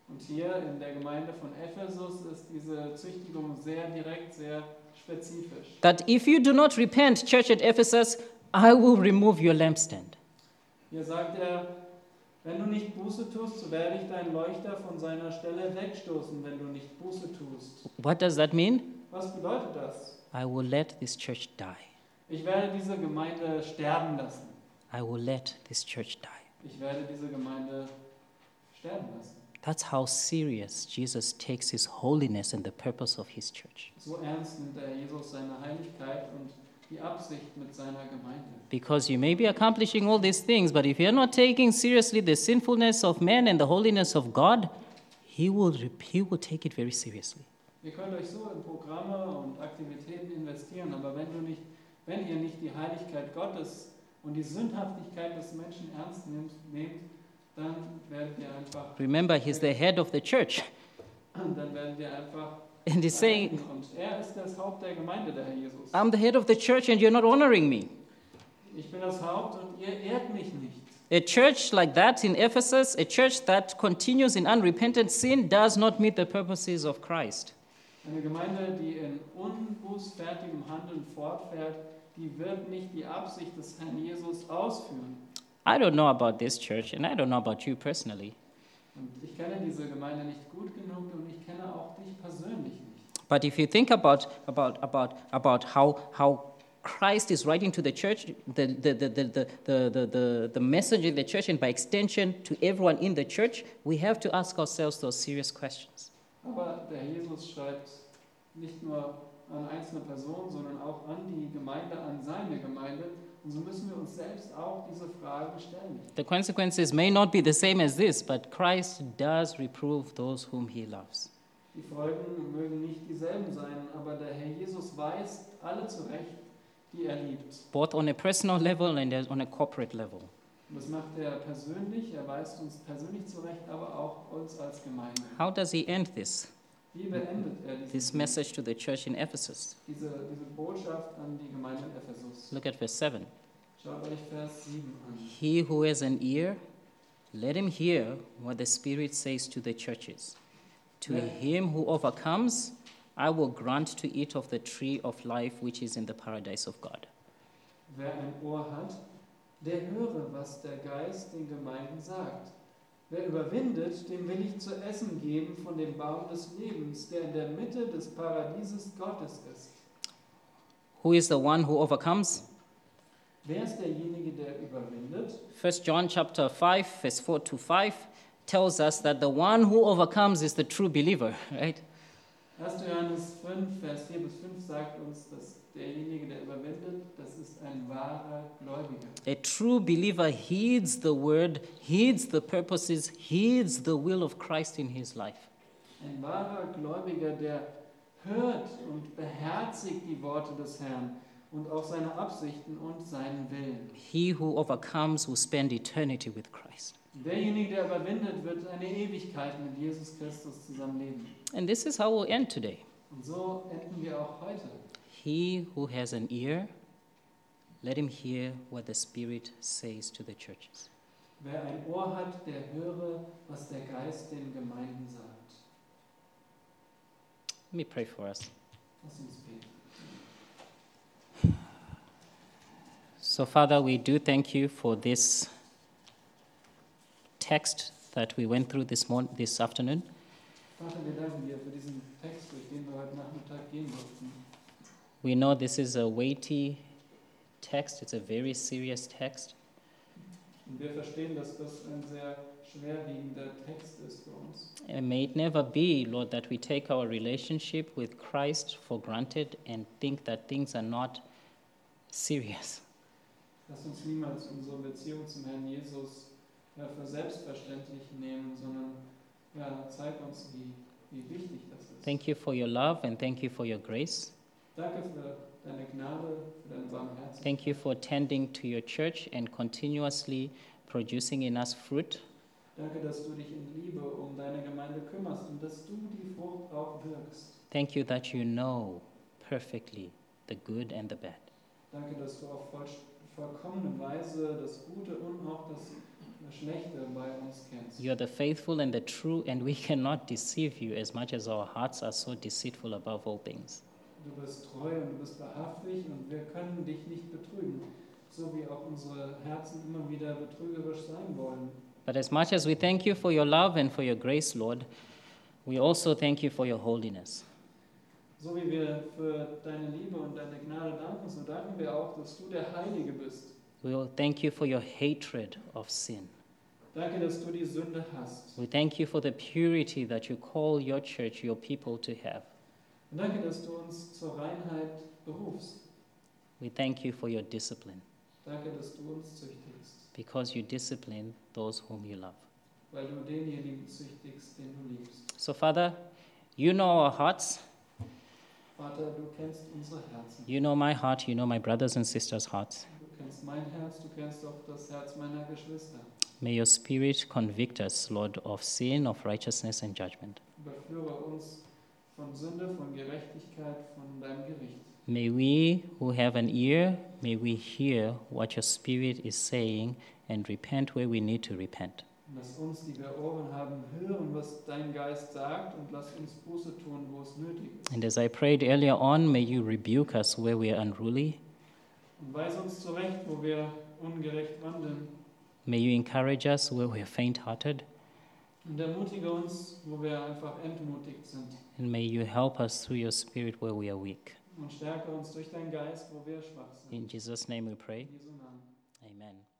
B: Und hier in der Gemeinde von Ephesus ist diese Züchtigung sehr direkt, sehr spezifisch.
A: That if you do not repent, church at Ephesus, I will remove your lampstand.
B: Hier sagt er, wenn du nicht Buße tust, so werde ich deinen Leuchter von seiner Stelle wegstoßen, wenn du nicht Buße tust.
A: What does that mean?
B: Was bedeutet das?
A: I will let this church die.
B: Ich werde diese Gemeinde sterben lassen.
A: I will let this church die.
B: Ich werde diese Gemeinde sterben lassen.
A: That's how serious Jesus takes his holiness and the purpose of his church.
B: So ernst nimmt der Jesus seine Heiligkeit und die Absicht mit seiner Gemeinde.
A: Because you may be accomplishing all these things, but if you're not taking seriously the sinfulness of man and the holiness of God, he will, rep- he will take it very seriously.
B: Ihr könnt euch so in Programme und Aktivitäten investieren, aber wenn, du nicht, wenn ihr nicht die Heiligkeit Gottes und die Sündhaftigkeit des Menschen ernst nehmt, nehmt dann werdet ihr einfach,
A: Remember, he's the head of the church,
B: dann werdet ihr einfach
A: and he's saying,
B: Und er ist das Haupt der Gemeinde, der Herr Jesus.
A: I'm the head of the church and you're not honoring me.
B: Ich bin das Haupt und ihr ehrt mich nicht.
A: A church like that in Ephesus, a church that continues in unrepentant sin, does not meet the purposes of Christ.
B: Eine Gemeinde, die in unbußfertigem Handeln fortfährt, die wird nicht die Absicht des Herrn Jesus ausführen.
A: I don't know about this church, and I don't know about you personally,
B: Und ich kenne diese Gemeinde nicht gut genug und ich kenne auch dich persönlich nicht.
A: But if you think about, about, about, about how, how Christ is writing to the church, the, the, the, the, the, the, the, the, the message in the church, and by extension to everyone in the church, we have to ask ourselves those serious questions.
B: Aber der Herr Jesus schreibt nicht nur an einzelne Personen, sondern auch an die Gemeinde, an seine Gemeinde. Und so müssen wir uns selbst auch diese Fragen stellen.
A: The consequences may not be the same as this, but Christ does reprove those whom he loves.
B: Die Folgen mögen nicht dieselben sein, aber der Herr Jesus weist alle zurecht, die er liebt.
A: Both on a personal level and as- on a corporate level.
B: Und das macht er persönlich, er weist uns persönlich zurecht, aber auch uns als Gemeinde.
A: How does he end this?
B: Wie beendet er diesen
A: This message to the church in Ephesus.
B: Diese, diese Botschaft an die Gemeinde in Ephesus?
A: Look at verse 7.
B: Schaut euch Vers 7 an.
A: He who has an ear, let him hear what the Spirit says to the churches. To
B: Yeah.
A: him who overcomes, I will grant to eat of the tree of life which is in the paradise of God.
B: Wer ein Ohr hat, der höre, was der Geist den Gemeinden sagt. Wer überwindet, dem will ich zu essen geben von dem Baum des Lebens, der in der Mitte des Paradieses Gottes ist.
A: Who is the one who overcomes?
B: Wer ist derjenige, der überwindet?
A: 1 John chapter 5 verse 4 to 5 tells us that the one who overcomes is the true believer, right?
B: 1. Johannes 5, Vers 4 bis 5 sagt uns, dass derjenige, der überwindet, das ist ein wahrer Gläubiger.
A: A true believer heeds the word, heeds the purposes, heeds the will of Christ in his life.
B: Ein wahrer Gläubiger, der hört und beherzigt die Worte des Herrn und auch seine Absichten und seinen Willen.
A: He who overcomes will spend eternity with Christ.
B: Derjenige, der überwindet, wird eine Ewigkeit mit Jesus Christus zusammenleben.
A: And this is how we'll end today.
B: Und so enden wir auch heute.
A: He who has an ear, let him hear what the Spirit says to the churches.
B: Wer ein Ohr hat, der höre, was der Geist den Gemeinden sagt.
A: Let me pray for us.
B: Lass uns beten.
A: So, Father, we do thank you for this text that we went through this, morning, this afternoon.
B: Vater, wir danken dir für diesen Text, durch den wir heute Nachmittag gehen durften.
A: We know this is a weighty text, it's a very serious text.
B: Und wir verstehen, dass das ein sehr schwerwiegender Text ist für uns.
A: And may it never be, Lord, that we take our relationship with Christ for granted and think that things are not serious.
B: Lass uns niemals unsere Beziehung zum Herrn Jesus ja, für selbstverständlich nehmen, sondern ja, zeig uns, wie, wie wichtig das ist.
A: Thank you for your love and thank you for your grace.
B: Danke für deine Gnade, für deine Barmherzigkeit.
A: Thank you for tending to your church and continuously producing in us fruit.
B: Danke, dass du dich in Liebe um deine Gemeinde kümmerst und dass du die Frucht auch wirkst.
A: Thank you that you know perfectly the good and the bad.
B: Danke, dass du auf voll, vollkommene Weise das Gute und auch das Schlechte bei uns kennst.
A: You are the faithful and the true, and we cannot deceive you as much as our hearts are so deceitful above all things.
B: Du bist treu und du bist wahrhaftig und wir können dich nicht betrügen, so wie auch unsere Herzen immer wieder betrügerisch sein wollen.
A: But as much as we thank you for your love and for your grace, Lord, we also thank you for your holiness.
B: So wie wir für deine Liebe und deine Gnade danken, so danken wir auch, dass du der Heilige bist.
A: We will thank you for your hatred of sin.
B: Danke, dass du die Sünde hast.
A: We thank you for the purity that you call your church, your people to have.
B: Und danke, dass du uns zur Reinheit berufst.
A: We thank you for your discipline,
B: Danke, dass du uns züchtigst,
A: because you discipline those whom you love.
B: weil du denjenigen züchtigst, den du liebst.
A: So, Father, you know our hearts.
B: Vater, du kennst unsere Herzen.
A: You know my heart. You know my brothers and sisters' hearts.
B: Du kennst mein Herz, du kennst auch das Herz meiner Geschwister.
A: May your spirit convict us, Lord, of sin, of righteousness, and judgment.
B: Überführe uns von Sünde, von Gerechtigkeit, von deinem Gericht.
A: May we who have an ear, may we hear what your spirit is saying and repent where we need to repent.
B: Und lass uns, die wir Ohren haben, hören, was dein Geist sagt und lass uns Buße tun, wo es nötig ist.
A: And as I prayed earlier on, may you rebuke us where we are unruly.
B: Und weise uns zurecht, wo wir ungerecht wandeln.
A: May you encourage us where we are faint hearted.
B: Und ermutige uns, wo wir einfach entmutigt sind.
A: And may you help us through your spirit where we are weak.
B: Und stärke uns durch deinen Geist, wo wir schwach sind.
A: In Jesus' name we pray.
B: In Jesu Namen.
A: Amen.